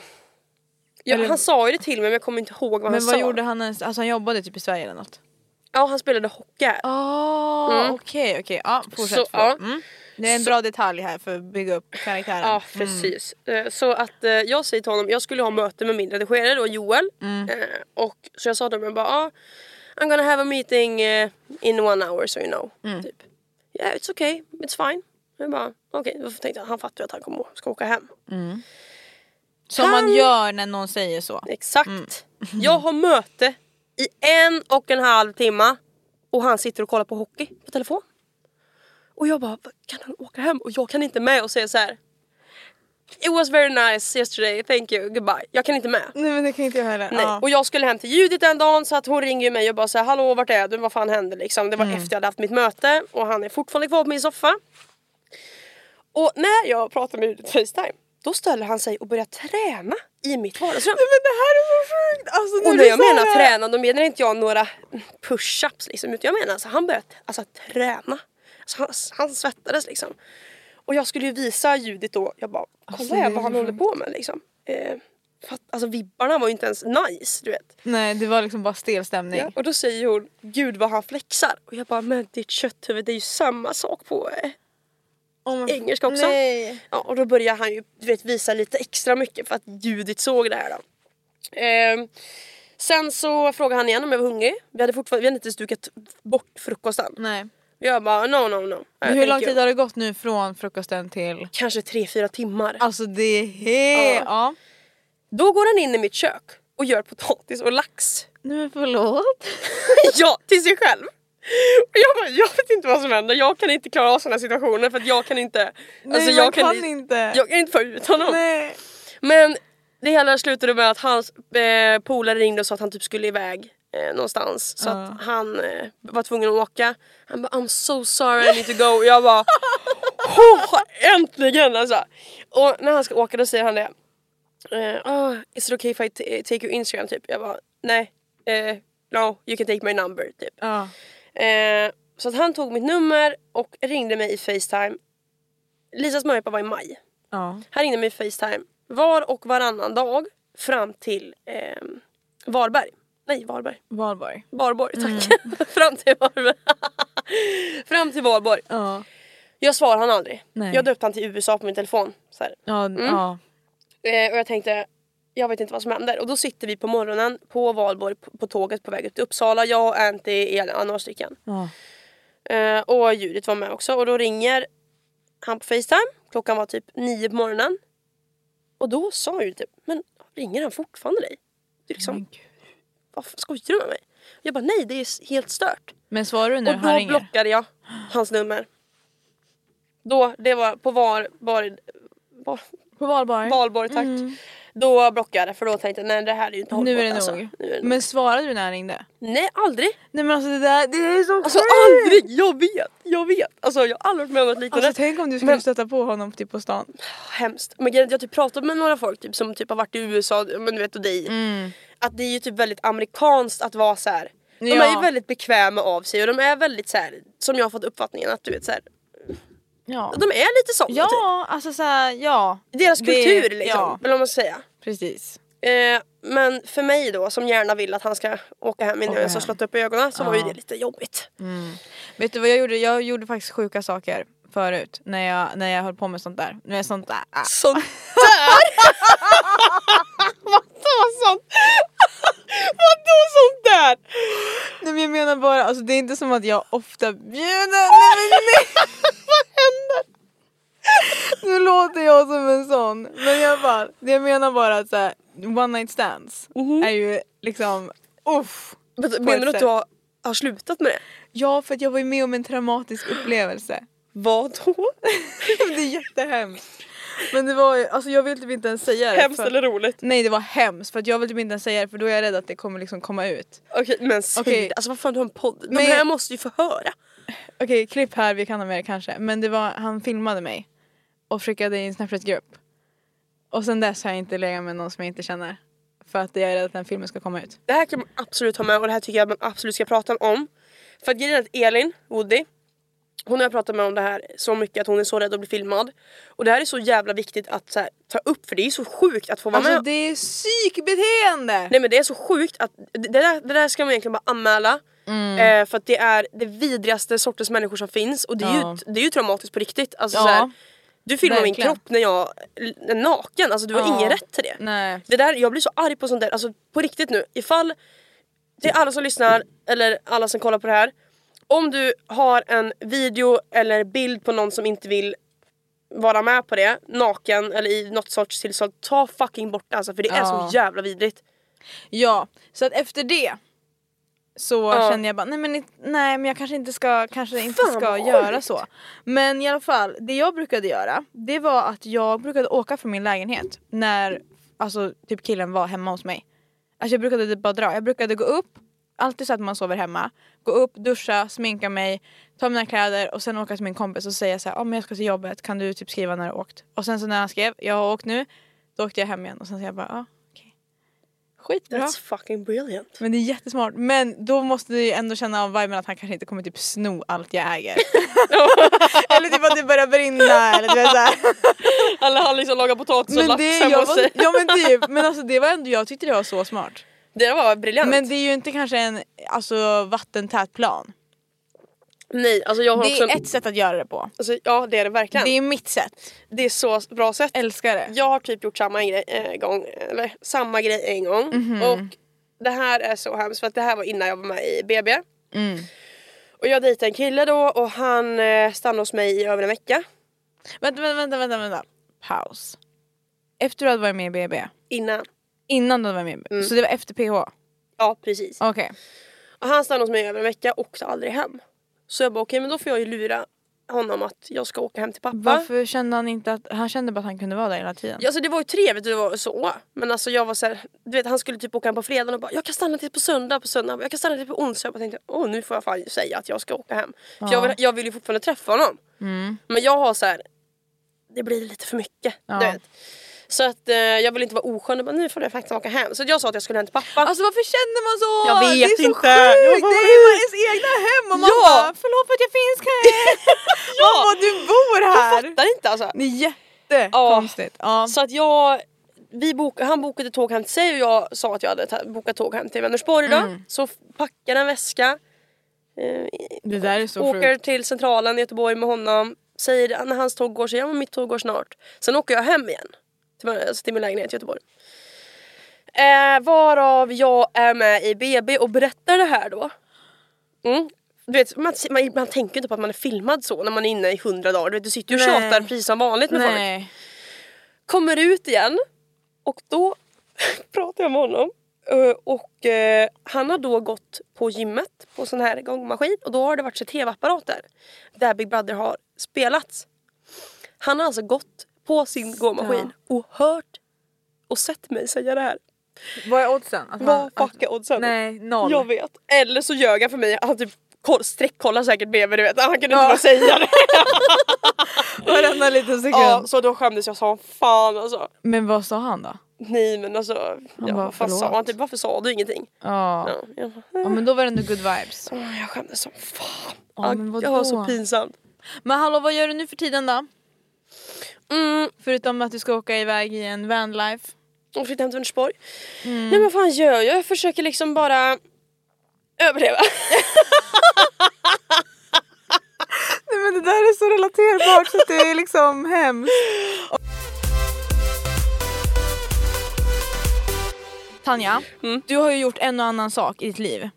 Speaker 2: Eller-
Speaker 1: han sa ju det till mig men jag kommer inte ihåg vad
Speaker 2: Men
Speaker 1: han
Speaker 2: vad
Speaker 1: sa.
Speaker 2: gjorde han ens? Alltså han jobbade typ i Sverige eller något.
Speaker 1: Ja, han spelade hockey här.
Speaker 2: Åh, Okej, okej. Ja,
Speaker 1: Ah, Så,
Speaker 2: fortsätt.
Speaker 1: ja.
Speaker 2: förlåt. Mm. Det är en bra detalj här för att bygga upp karaktären. Mm.
Speaker 1: Ja precis. Eh, Så att eh, jag säger till honom, jag skulle ha möte med min redigerare då Joel. Eh, Och så jag sa till honom bara, ah, I'm gonna have a meeting eh, in one hour so you know. Typ. Yeah it's okay, it's fine. Jag bara, okej, då tänkte jag, han fattar ju att han kommer ska åka hem.
Speaker 2: Som man gör när någon säger så.
Speaker 1: Exakt. jag har möte i en och en halv timme och han sitter och kollar på hockey på telefon. Och jag bara, "Vad, kan han åka hem? Och jag kan inte med och säga så här. It was very nice yesterday, thank you, goodbye. Jag kan inte Ah. med.
Speaker 2: Nej men det kan inte jag heller.
Speaker 1: Nej. Och jag skulle hem till Judith den dagen så att hon ringer ju mig och bara säger hallå vart är du, vad fan hände liksom. Det var efter jag hade haft mitt möte och han är fortfarande kvar på min soffa. Och när jag pratar med Judith på Facetime då ställer han sig och börjar träna i mitt vardagsrum.
Speaker 2: Men det här är så sjukt! Alltså,
Speaker 1: Och
Speaker 2: du
Speaker 1: när jag
Speaker 2: sa
Speaker 1: menar
Speaker 2: det här-
Speaker 1: träna då menar inte jag några push-ups liksom utan jag menar alltså han började alltså, träna. Alltså, han, han svettades liksom. Och jag skulle ju visa Judith då, jag bara kolla här vad han håller på med liksom. Eh, fatt- alltså vibbarna var ju inte ens nice du vet.
Speaker 2: Nej det var liksom bara stel stämning.
Speaker 1: Ja, och då säger hon gud vad han flexar och jag bara men ditt kötthuvud det är ju samma sak på eh,
Speaker 2: Oh, men-
Speaker 1: engelska också.
Speaker 2: Nej.
Speaker 1: Ja, och då börjar han ju du vet, visa lite extra mycket för att Judith såg det här. Då. Ehm, sen så frågade han igen om jag var hungrig. Vi hade fortfarande vi hade inte stukat bort frukosten.
Speaker 2: Nej.
Speaker 1: Jag bara no no no.
Speaker 2: Men hur lång tid har det gått nu från frukosten till...
Speaker 1: Kanske tre fyra timmar.
Speaker 2: Alltså det är
Speaker 1: Ah.
Speaker 2: helt... Ja.
Speaker 1: Då går han in i mitt kök och gör potatis och lax.
Speaker 2: Nej men förlåt.
Speaker 1: ja, till sig själv. Och jag bara, jag vet inte vad som händer. Jag kan inte klara av sådana situationer för att jag kan inte. Alltså,
Speaker 2: Nej, man
Speaker 1: jag
Speaker 2: kan inte.
Speaker 1: Jag kan inte få ut honom.
Speaker 2: Nej.
Speaker 1: Men det hela slutade med att hans eh, polare ringde och sa att han typ skulle iväg eh, någonstans. Så att han eh, var tvungen att åka. Han bara I'm so sorry I need to go. Och jag bara oh, äntligen alltså. Och när han ska åka då säger han det. Eh, "Ah, is it okay if I t- take your Instagram typ? Jag bara nej. eh, no you can take my number typ.
Speaker 2: Ja.
Speaker 1: Eh, så att han tog mitt nummer och ringde mig i Facetime. Lisas möhippa var i maj.
Speaker 2: Ja.
Speaker 1: Han ringde mig i Facetime var och varannan dag fram till ehm, Varberg. Nej, Varberg.
Speaker 2: Valborg.
Speaker 1: Varborg, tack. fram till Varberg. fram till Varborg.
Speaker 2: Ja.
Speaker 1: Jag svarade han aldrig.
Speaker 2: Nej.
Speaker 1: Jag döpte han till USA på min telefon. Så här.
Speaker 2: Ja. ja.
Speaker 1: Eh, och jag tänkte, jag vet inte vad som händer. Och då sitter vi på morgonen på Valborg på, på tåget på väg upp till Uppsala. Jag och Antti, Elin, ja, några stycken.
Speaker 2: Ja.
Speaker 1: Eh, och Judith var med också. Och då ringer han på Facetime. Klockan var typ nio på morgonen. Och då sa Judith typ, men ringer han fortfarande dig? Det är liksom,
Speaker 2: Men gud.
Speaker 1: vad fan skojar du med mig? Jag bara, nej det är helt stört.
Speaker 2: Men svarar du när
Speaker 1: och
Speaker 2: han
Speaker 1: då
Speaker 2: ringer?
Speaker 1: blockade jag hans nummer. Då, det var på var, var, var
Speaker 2: På Valborg?
Speaker 1: Valborg, tack. Då blockade jag för då tänkte jag, nej det här är ju inte hållbart
Speaker 2: Mm. Nu är det
Speaker 1: alltså.
Speaker 2: nog.
Speaker 1: Nu är det nog.
Speaker 2: Men svarade du när han ringde?
Speaker 1: Nej, aldrig.
Speaker 2: Nej men alltså det där, det är så
Speaker 1: Alltså
Speaker 2: sjukt!
Speaker 1: aldrig! Jag vet, jag vet. Alltså jag har aldrig varit med om något liknande.
Speaker 2: Alltså tänk om du skulle
Speaker 1: Men-
Speaker 2: stöta på honom typ på stan.
Speaker 1: hemskt. Men grejen är att jag typ pratat med några folk typ, som typ har varit i USA, men du vet och dig.
Speaker 2: Mm.
Speaker 1: Att det är ju typ väldigt amerikanskt att vara så här. De
Speaker 2: Ja.
Speaker 1: är ju väldigt bekväma av sig och de är väldigt så här, som jag har fått uppfattningen att du vet så här,
Speaker 2: Ja.
Speaker 1: de är lite såna typ.
Speaker 2: Ja, alltså såhär, ja.
Speaker 1: Deras
Speaker 2: Det-
Speaker 1: kultur liksom,
Speaker 2: Ja,
Speaker 1: eller vad man ska säga.
Speaker 2: precis.
Speaker 1: Eh, men för mig då som gärna vill att han ska åka hem innan jag ens har
Speaker 2: hem.
Speaker 1: slått upp ögonen så var ju det lite jobbigt.
Speaker 2: Vet du vad jag gjorde? Jag gjorde faktiskt sjuka saker förut när jag, när jag höll på med sånt där. Med sånt där. Ah.
Speaker 1: Sånt
Speaker 2: Vadå sånt? Vadå sånt där? Nej men jag menar bara, alltså det är inte som att jag ofta bjuder... Nej men nej! Vad händer? Nu låter jag som en sån. Men jag bara, det jag menar bara att så här, one night stands är ju liksom, uff.
Speaker 1: Men-
Speaker 2: på
Speaker 1: Menar
Speaker 2: ett
Speaker 1: du att
Speaker 2: sätt.
Speaker 1: du har, har slutat med det?
Speaker 2: Ja för att jag var ju med om en traumatisk upplevelse.
Speaker 1: Vad då?
Speaker 2: det är jättehemskt. Men det var ju, alltså jag vill typ inte ens säga det.
Speaker 1: Hemskt
Speaker 2: för-
Speaker 1: eller roligt?
Speaker 2: Nej det var hemskt för att jag vill typ inte ens säga det för då är jag rädd att det kommer liksom komma ut.
Speaker 1: Okej men säg
Speaker 2: Okej.
Speaker 1: det. alltså vad fan du har en podd. De
Speaker 2: Men-
Speaker 1: här måste ju få höra.
Speaker 2: Okej, klipp här, vi kan ha med det kanske. Men det var, han filmade mig och skickade i en Snapchat-grupp. Och sen dess har jag inte legat med någon som jag inte känner. För att jag är rädd att den filmen ska komma ut.
Speaker 1: Det här kan man absolut ha med och det här tycker jag man absolut ska prata om. För att grejen är att Elin, Woody, hon har jag pratat med om det här så mycket att hon är så rädd att bli filmad. Och det här är så jävla viktigt att så här, ta upp för det är så sjukt att få vara
Speaker 2: Alltså
Speaker 1: med.
Speaker 2: det är psykbeteende!
Speaker 1: Nej men det är så sjukt att det det där, det där ska man egentligen bara anmäla.
Speaker 2: Mm.
Speaker 1: Eh, för att det är det vidrigaste sortens människor som finns och det är,
Speaker 2: Ja.
Speaker 1: ju, det är ju traumatiskt på riktigt. Alltså,
Speaker 2: Ja.
Speaker 1: så här, du filmar min
Speaker 2: Verkligen.
Speaker 1: kropp när jag är naken, alltså, du har
Speaker 2: Ja.
Speaker 1: ingen rätt till det.
Speaker 2: Nej.
Speaker 1: Det där, jag blir så arg på sånt där, alltså på riktigt nu. Ifall det är alla som lyssnar eller alla som kollar på det här. Om du har en video eller bild på någon som inte vill vara med på det, naken eller i något sorts tillstånd, ta fucking bort det alltså för det är
Speaker 2: Ja.
Speaker 1: så jävla vidrigt.
Speaker 2: Ja, så att efter det så
Speaker 1: Ja.
Speaker 2: kände jag bara nej men, it- nej men jag kanske inte ska, kanske inte
Speaker 1: Fan,
Speaker 2: ska
Speaker 1: vad
Speaker 2: göra
Speaker 1: sjukt.
Speaker 2: så. Men i alla fall, det jag brukade göra det var att jag brukade åka från min lägenhet när alltså, typ killen var hemma hos mig. Alltså jag brukade typ bara dra, jag brukade gå upp, alltid så att man sover hemma, gå upp, duscha, sminka mig, ta mina kläder och sen åka till min kompis och säga så här, ah, men jag ska till jobbet, kan du typ skriva när du har åkt? Och sen så när han skrev, jag har åkt nu, då åkte jag hem igen och sen så jag bara, ja ah, okej. Skitbra.
Speaker 1: That's fucking brilliant.
Speaker 2: Men det är jättesmart. Men då måste du ju ändå känna av viben att han kanske inte kommer typ sno allt jag äger. eller typ att det börjar brinna eller du vet såhär.
Speaker 1: Eller han liksom lagar potatis och
Speaker 2: Men
Speaker 1: lax
Speaker 2: det,
Speaker 1: hemma
Speaker 2: jag
Speaker 1: hos
Speaker 2: var,
Speaker 1: sig.
Speaker 2: ja men typ, men alltså det var ändå, jag tyckte det var så smart.
Speaker 1: Det var briljant.
Speaker 2: Men det är ju inte kanske en alltså, vattentät plan.
Speaker 1: Nej, alltså jag har
Speaker 2: Det
Speaker 1: också en,
Speaker 2: är ett sätt att göra det på.
Speaker 1: alltså, Ja det är det verkligen.
Speaker 2: Det är mitt sätt.
Speaker 1: det är så bra sätt.
Speaker 2: Älskar det.
Speaker 1: Jag har typ gjort samma grej, eh, gång, eller samma grej en gång. Och det här är så hemskt för att det här var innan jag var med i BB. Och jag dejtade en kille då och han eh, stannade hos mig i över en vecka.
Speaker 2: Vänta, vänta, vänta, vänta, vänta. Paus. Efter du hade varit med i BB?
Speaker 1: Innan.
Speaker 2: Innan du hade varit med i BB?
Speaker 1: Mm.
Speaker 2: Så det var efter PH?
Speaker 1: Ja precis.
Speaker 2: Okej.
Speaker 1: Och han stannade hos mig i över en vecka och åkte aldrig hem. Så jag bara okej men då får jag ju lura honom att jag ska åka hem till pappa.
Speaker 2: Varför kände han inte att, han kände bara att han kunde vara där hela tiden?
Speaker 1: Ja, Alltså det var ju trevligt och det var så. Men alltså jag var så här, du vet han skulle typ åka hem på fredagen och bara jag kan stanna till på söndag, på söndag, jag kan stanna till på onsdag. Jag bara tänkte åh nu får jag fan säga att jag ska åka hem. För jag vill, jag vill ju fortfarande träffa honom. Men jag har så här, det blir lite för mycket. Du
Speaker 2: Mm. Ja.
Speaker 1: vet. Så att eh, jag vill inte vara oskön, jag bara, nu får du faktiskt åka hem. Så jag sa att jag skulle hem till pappa.
Speaker 2: Alltså varför känner man så?
Speaker 1: Jag vet
Speaker 2: det är så
Speaker 1: inte.
Speaker 2: sjukt!
Speaker 1: Jag
Speaker 2: Det
Speaker 1: bara,
Speaker 2: är ju ens egna hem och man
Speaker 1: Ja.
Speaker 2: bara förlåt för att jag finns här! ja. Man bara du bor här!
Speaker 1: jag fattar inte alltså.
Speaker 2: Det är jättekonstigt. Ja.
Speaker 1: Så att jag, vi bok, han bokade tåg hem till sig och jag sa att jag hade ta- bokat tåg hem till Vänersborg då.
Speaker 2: Mm.
Speaker 1: Så f- packade en väska. Eh,
Speaker 2: Det där är så
Speaker 1: åker
Speaker 2: sjukt.
Speaker 1: till centralen i Göteborg med honom. Säger när hans tåg går så ja men mitt tåg går snart. Sen åker jag hem igen. Till, alltså, till min lägenhet i Göteborg. Eh, varav jag är med i BB och berättar det här då. Mm. Du vet, man, man, man tänker ju inte på att man är filmad så när man är inne i hundra dagar. Du, vet, du sitter ju och
Speaker 2: Nej.
Speaker 1: tjatar precis som vanligt med folk.
Speaker 2: Nej.
Speaker 1: Kommer ut igen och då pratar jag med honom. Eh, Och eh, han har då gått på gymmet på sån här gångmaskin och då har det varit så tv-apparat där. Där Big Brother har spelats. Han har alltså gått på sin gåmaskin och hört och sett mig säga det här.
Speaker 2: Vad är oddsen? Att
Speaker 1: Vad
Speaker 2: att-
Speaker 1: fuck är oddsen?
Speaker 2: alltså, Nej, noll.
Speaker 1: Jag vet. Eller så ljög han för mig. Han typ koll- streckkollar säkert BB du vet. Han kunde
Speaker 2: Ja.
Speaker 1: inte bara säga det.
Speaker 2: Varenda liten sekund.
Speaker 1: ja, så då skämdes jag som fan alltså.
Speaker 2: Men vad sa han då?
Speaker 1: Nej men alltså. Ja,
Speaker 2: bara,
Speaker 1: vad fan sa
Speaker 2: förlåt.
Speaker 1: han? Typ, varför sa du ingenting?
Speaker 2: Ja.
Speaker 1: Ja, jag,
Speaker 2: ja men då var det ändå good vibes.
Speaker 1: Åh, jag skämdes som fan.
Speaker 2: Ja, men
Speaker 1: jag har så
Speaker 2: vadå?
Speaker 1: pinsamt.
Speaker 2: Men hallå vad gör du nu för tiden då?
Speaker 1: Mm,
Speaker 2: Förutom att du ska åka iväg i en vanlife.
Speaker 1: och flyttade hem till Vänersborg.
Speaker 2: Mm.
Speaker 1: Nej men vad fan gör jag? Jag försöker liksom bara överleva.
Speaker 2: Nej men det där är så relaterbart så att det är liksom hemskt. Tanja, du har ju gjort en och annan sak i ditt liv.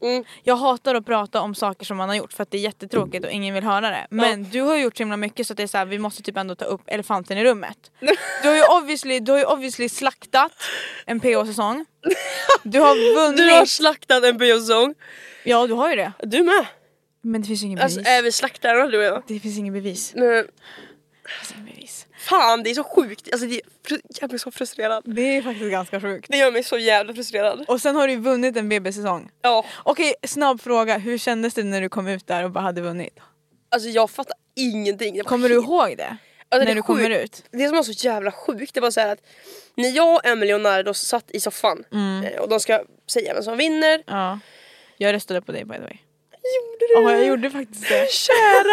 Speaker 2: Jag hatar att prata om saker som man har gjort för att det är jättetråkigt och ingen vill höra det. Men du har gjort så himla mycket så att det är så här, vi måste typ ändå ta upp elefanten i rummet. Du har ju obviously, du har ju obviously slaktat en PH-säsong. Du har vunnit.
Speaker 1: Du har slaktat en biosång.
Speaker 2: Ja du har ju det.
Speaker 1: Du med.
Speaker 2: Men det finns ju ingen bevis.
Speaker 1: Alltså är vi slaktare du och jag?
Speaker 2: Det finns ingen bevis.
Speaker 1: Men,
Speaker 2: Det finns ingen bevis.
Speaker 1: fan det är så sjukt. Alltså, det fru- jag blir så frustrerad.
Speaker 2: Det är faktiskt ganska sjukt.
Speaker 1: Det gör mig så jävla frustrerad.
Speaker 2: Och sen har du ju vunnit en BB-säsong.
Speaker 1: Ja,
Speaker 2: Okej, snabb fråga. Hur kändes det när du kom ut där och bara hade vunnit?
Speaker 1: alltså jag fattar ingenting. Det var
Speaker 2: Kommer du
Speaker 1: helt-
Speaker 2: ihåg det?
Speaker 1: Alltså,
Speaker 2: när
Speaker 1: det
Speaker 2: du kommer
Speaker 1: sjukt.
Speaker 2: ut?
Speaker 1: Det som var så jävla sjukt det var så här att när jag, Emelie och Nardo satt i soffan
Speaker 2: Mm.
Speaker 1: eh, och de ska säga vem som vinner.
Speaker 2: Ja. Jag röstade på dig by the way.
Speaker 1: Gjorde du?
Speaker 2: Ja, jag gjorde faktiskt det.
Speaker 1: Kära!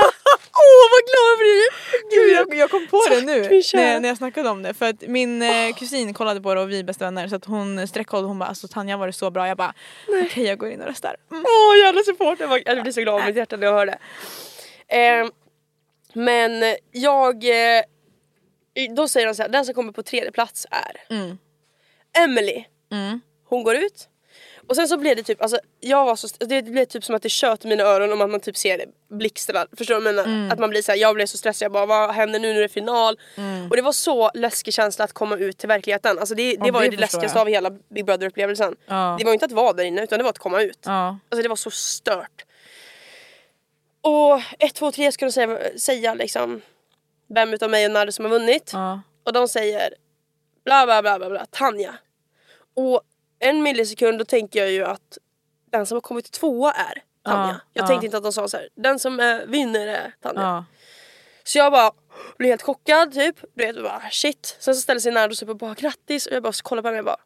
Speaker 1: vad glad jag blir!
Speaker 2: Gud, jag, jag kom på det
Speaker 1: Tack,
Speaker 2: nu
Speaker 1: min kära.
Speaker 2: när, jag- när jag snackade om det för att min eh, kusin kollade på det och vi är bästa vänner så att hon sträckkollade hon bara alltså Tanja var det så bra jag bara okej jag går in och röstar. Mm.
Speaker 1: Åh jävla support! Jag, bara, jag blir så glad i mitt hjärta när jag hör det. Ehm, men jag... eh, Då säger de så här, den som kommer på tredje plats är
Speaker 2: Mm.
Speaker 1: Emily. Hon går ut. Och sen så blev det typ, alltså jag var så, st- det blev typ som att det tjöt i mina öron om att man typ ser det blixtra. Förstår du vad jag menar?
Speaker 2: Mm.
Speaker 1: Att man blir så här, jag blev så stressad, jag bara vad händer nu när det är final?
Speaker 2: Mm.
Speaker 1: Och det var så läskig känsla att komma ut till verkligheten. Alltså det, det
Speaker 2: Ja,
Speaker 1: var ju
Speaker 2: det
Speaker 1: det
Speaker 2: förstår
Speaker 1: läskigaste
Speaker 2: jag.
Speaker 1: av hela Big Brother upplevelsen.
Speaker 2: Ja.
Speaker 1: Det var ju inte att vara där inne utan det var att komma ut.
Speaker 2: Ja.
Speaker 1: Alltså det var så stört. Och 1, 2, 3 skulle de säga, säga liksom vem utav mig och Narre som har vunnit.
Speaker 2: Ja.
Speaker 1: Och de säger bla bla bla bla bla Tanja. Och en millisekund då tänker jag ju att den som har kommit tvåa är Tanja.
Speaker 2: Ja,
Speaker 1: jag
Speaker 2: ja.
Speaker 1: tänkte inte att de sa så här. den som eh, vinner är Tanja.
Speaker 2: Ja.
Speaker 1: Så jag bara blev helt chockad typ. Du vet, jag bara shit. Sen så ställer sig Nardos upp och bara grattis och jag bara kollar på henne och bara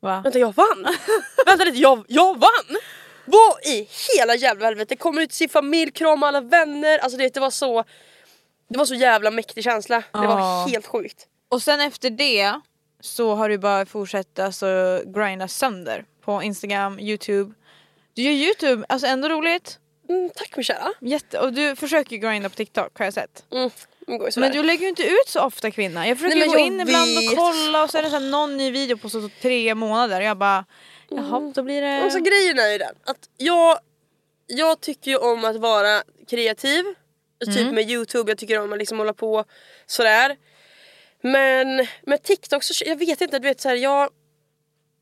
Speaker 2: Va?
Speaker 1: Vänta jag vann! Vänta lite, jag, jag vann! Vad i hela jävla helvete? Kom ut till sin familj, krama alla vänner. Alltså det, det var så... Det var så jävla mäktig känsla. Det
Speaker 2: Ja.
Speaker 1: var helt sjukt.
Speaker 2: Och sen efter det så har du bara fortsatt alltså grinda sönder på Instagram, Youtube. Du gör Youtube, alltså ändå roligt.
Speaker 1: Mm, tack min kära.
Speaker 2: Jätte och du försöker grinda på TikTok har jag sett.
Speaker 1: Mm, det går ju sådär.
Speaker 2: Men du lägger ju inte ut så ofta kvinna. Jag försöker
Speaker 1: Nej, men
Speaker 2: gå
Speaker 1: jag
Speaker 2: in ibland och
Speaker 1: vet.
Speaker 2: kolla och så är det så här någon ny video på så, så tre månader och jag bara jaha då blir det...
Speaker 1: Mm. Och så grejen är ju den att jag, jag tycker ju om att vara kreativ. Typ
Speaker 2: Mm.
Speaker 1: med youtube, jag tycker om att liksom hålla på sådär. Men med TikTok så, jag vet inte, du vet såhär jag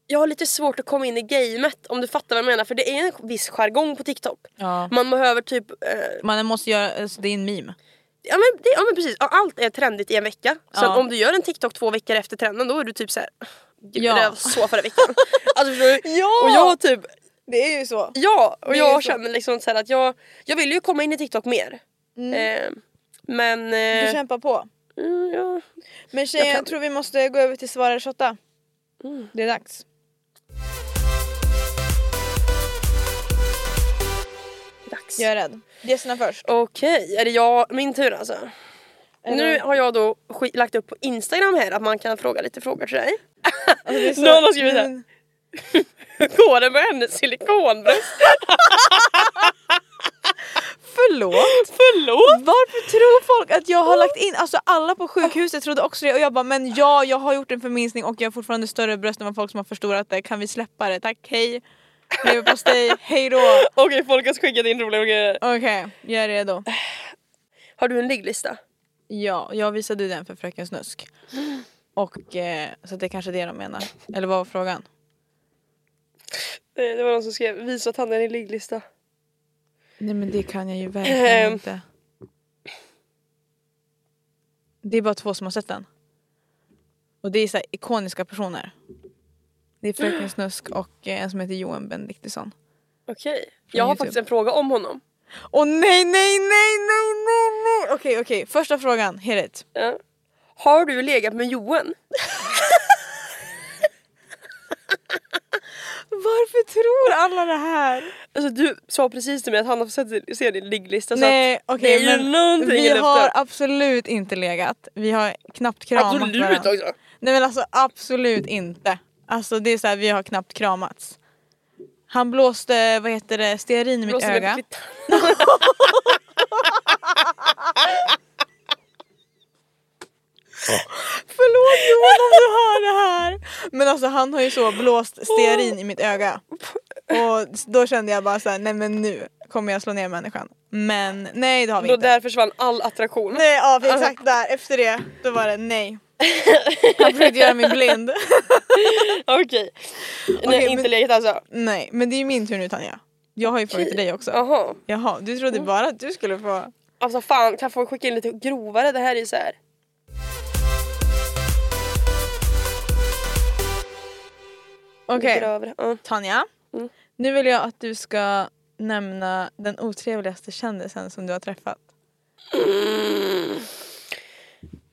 Speaker 1: jag har lite svårt att komma in i gamet om du fattar vad jag menar för det är en viss jargong på TikTok.
Speaker 2: Ja.
Speaker 1: Man behöver typ, eh,
Speaker 2: Man måste göra, alltså, det är en meme.
Speaker 1: ja, men det, ja men precis, Ja, allt är trendigt i en vecka. Sen
Speaker 2: Ja.
Speaker 1: om du gör en TikTok två veckor efter trenden då är du typ såhär, gud
Speaker 2: Ja.
Speaker 1: det där var så förra veckan. alltså förstår du?
Speaker 2: Ja!
Speaker 1: Och jag har typ
Speaker 2: Det är ju så.
Speaker 1: Ja, och
Speaker 2: Det är så.
Speaker 1: jag känner liksom så här att jag, jag vill ju komma in i TikTok mer. Eh, men...
Speaker 2: Mm. Du
Speaker 1: Eh,
Speaker 2: kämpar på.
Speaker 1: mm, ja.
Speaker 2: Men tjejer jag,
Speaker 1: kan- Mm.
Speaker 2: tror vi måste gå över till svara eller shotta. Det är dags.
Speaker 1: Dags.
Speaker 2: Jag är rädd. Gästerna först.
Speaker 1: Okej, är det jag, min tur alltså?
Speaker 2: Eller-
Speaker 1: Nu har jag då sk- lagt upp på Instagram här att man kan fråga lite frågor till dig.
Speaker 2: Alltså, det är så- Mm.
Speaker 1: Någon har skrivit
Speaker 2: Men-
Speaker 1: här. Hur går det med hennes silikonbröst?
Speaker 2: Förlåt?
Speaker 1: Förlåt!
Speaker 2: Varför tror folk att jag har lagt in, alltså alla på sjukhuset trodde också det och jag bara men ja jag har gjort en förminskning och jag har fortfarande större bröst än vad folk som har förstorat det, kan vi släppa det? Tack, hej! Leverpastej, hej då!
Speaker 1: Okej, folk har skickat in roliga grejer.
Speaker 2: Okej, jag är redo.
Speaker 1: Har du en ligglista?
Speaker 2: Ja, jag visade ju den för Fröken Snusk. Och eh, så att det är kanske är det de menar. Eller vad var frågan?
Speaker 1: Eh, Det, det var någon som skrev visa att han är en ligglista.
Speaker 2: Nej men det kan jag ju verkligen
Speaker 1: Ehm.
Speaker 2: inte. Det är bara två som har sett den. Och det är så här ikoniska personer. Det är Fröken Snusk och eh, en som heter Johan Benediktusson.
Speaker 1: Okej. Jag har
Speaker 2: YouTube.
Speaker 1: faktiskt en fråga om honom.
Speaker 2: Åh nej, nej, nej, nej, nej, nej! Okej, okej. Första frågan, hit it.
Speaker 1: Ja. Har du legat med Johan?
Speaker 2: Varför tror alla det här?
Speaker 1: Alltså du sa precis till mig att han har fått se- se din ligglista
Speaker 2: nej,
Speaker 1: så att
Speaker 2: okej.
Speaker 1: Alltså, det är ju
Speaker 2: men
Speaker 1: någonting i
Speaker 2: Vi
Speaker 1: luften.
Speaker 2: har absolut inte legat. Vi har knappt kramat
Speaker 1: Absolut
Speaker 2: varandra.
Speaker 1: också!
Speaker 2: Nej men alltså absolut inte. Alltså det är så här, vi har knappt kramats. Han blåste, vad heter det, stearin i mitt
Speaker 1: Blåser mig på
Speaker 2: öga.
Speaker 1: kvittan.
Speaker 2: Förlåt Johan om du hör det här! Men alltså han har ju så blåst stearin i mitt öga. Och då kände jag bara så här, nej men nu kommer jag slå ner människan. Men nej det har vi
Speaker 1: Då
Speaker 2: inte.
Speaker 1: där försvann all attraktion.
Speaker 2: Nej, ja exakt där, efter det, då var det nej. Han försökte göra mig blind.
Speaker 1: Okej. Nej,
Speaker 2: Okej,
Speaker 1: inte
Speaker 2: men-
Speaker 1: legat alltså.
Speaker 2: Nej, men det är ju min tur nu Tanja. Jag har ju frågat till dig också.
Speaker 1: Jaha.
Speaker 2: Jaha, du trodde bara att du skulle få...
Speaker 1: Alltså fan, kan folk skicka in lite grovare? Det här är ju så här.
Speaker 2: Okej.
Speaker 1: Grövre. Ja.
Speaker 2: Tanja, nu vill jag att du ska nämna den otrevligaste kändisen som du har träffat.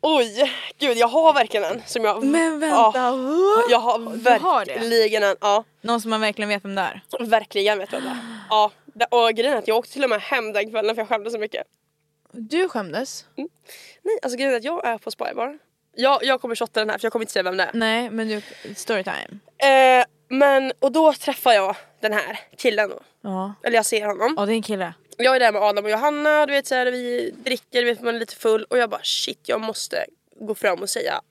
Speaker 1: Oj, gud jag har verkligen en som jag...
Speaker 2: Men vänta,
Speaker 1: Ja.
Speaker 2: what?
Speaker 1: Jag har
Speaker 2: Du Ah, har det?
Speaker 1: verkligen en, ja.
Speaker 2: Någon som man verkligen vet vem det är.
Speaker 1: Verkligen vet jag det. Ja. det- Och grejen är att jag åkte till och med hem den kvällen för jag skämdes så mycket.
Speaker 2: Du skämdes.
Speaker 1: Nej, alltså grejen är att jag är på spybar. Jag, jag kommer shotta den här för jag kommer inte säga vem det är.
Speaker 2: Nej men du, storytime.
Speaker 1: Eh, men, och då träffar jag den här killen då.
Speaker 2: Ja.
Speaker 1: Eller jag ser honom.
Speaker 2: Ja det är en kille.
Speaker 1: Jag är där med Adam och Johanna, du vet så här, vi dricker, du vet man är lite full och jag bara shit jag måste gå fram och säga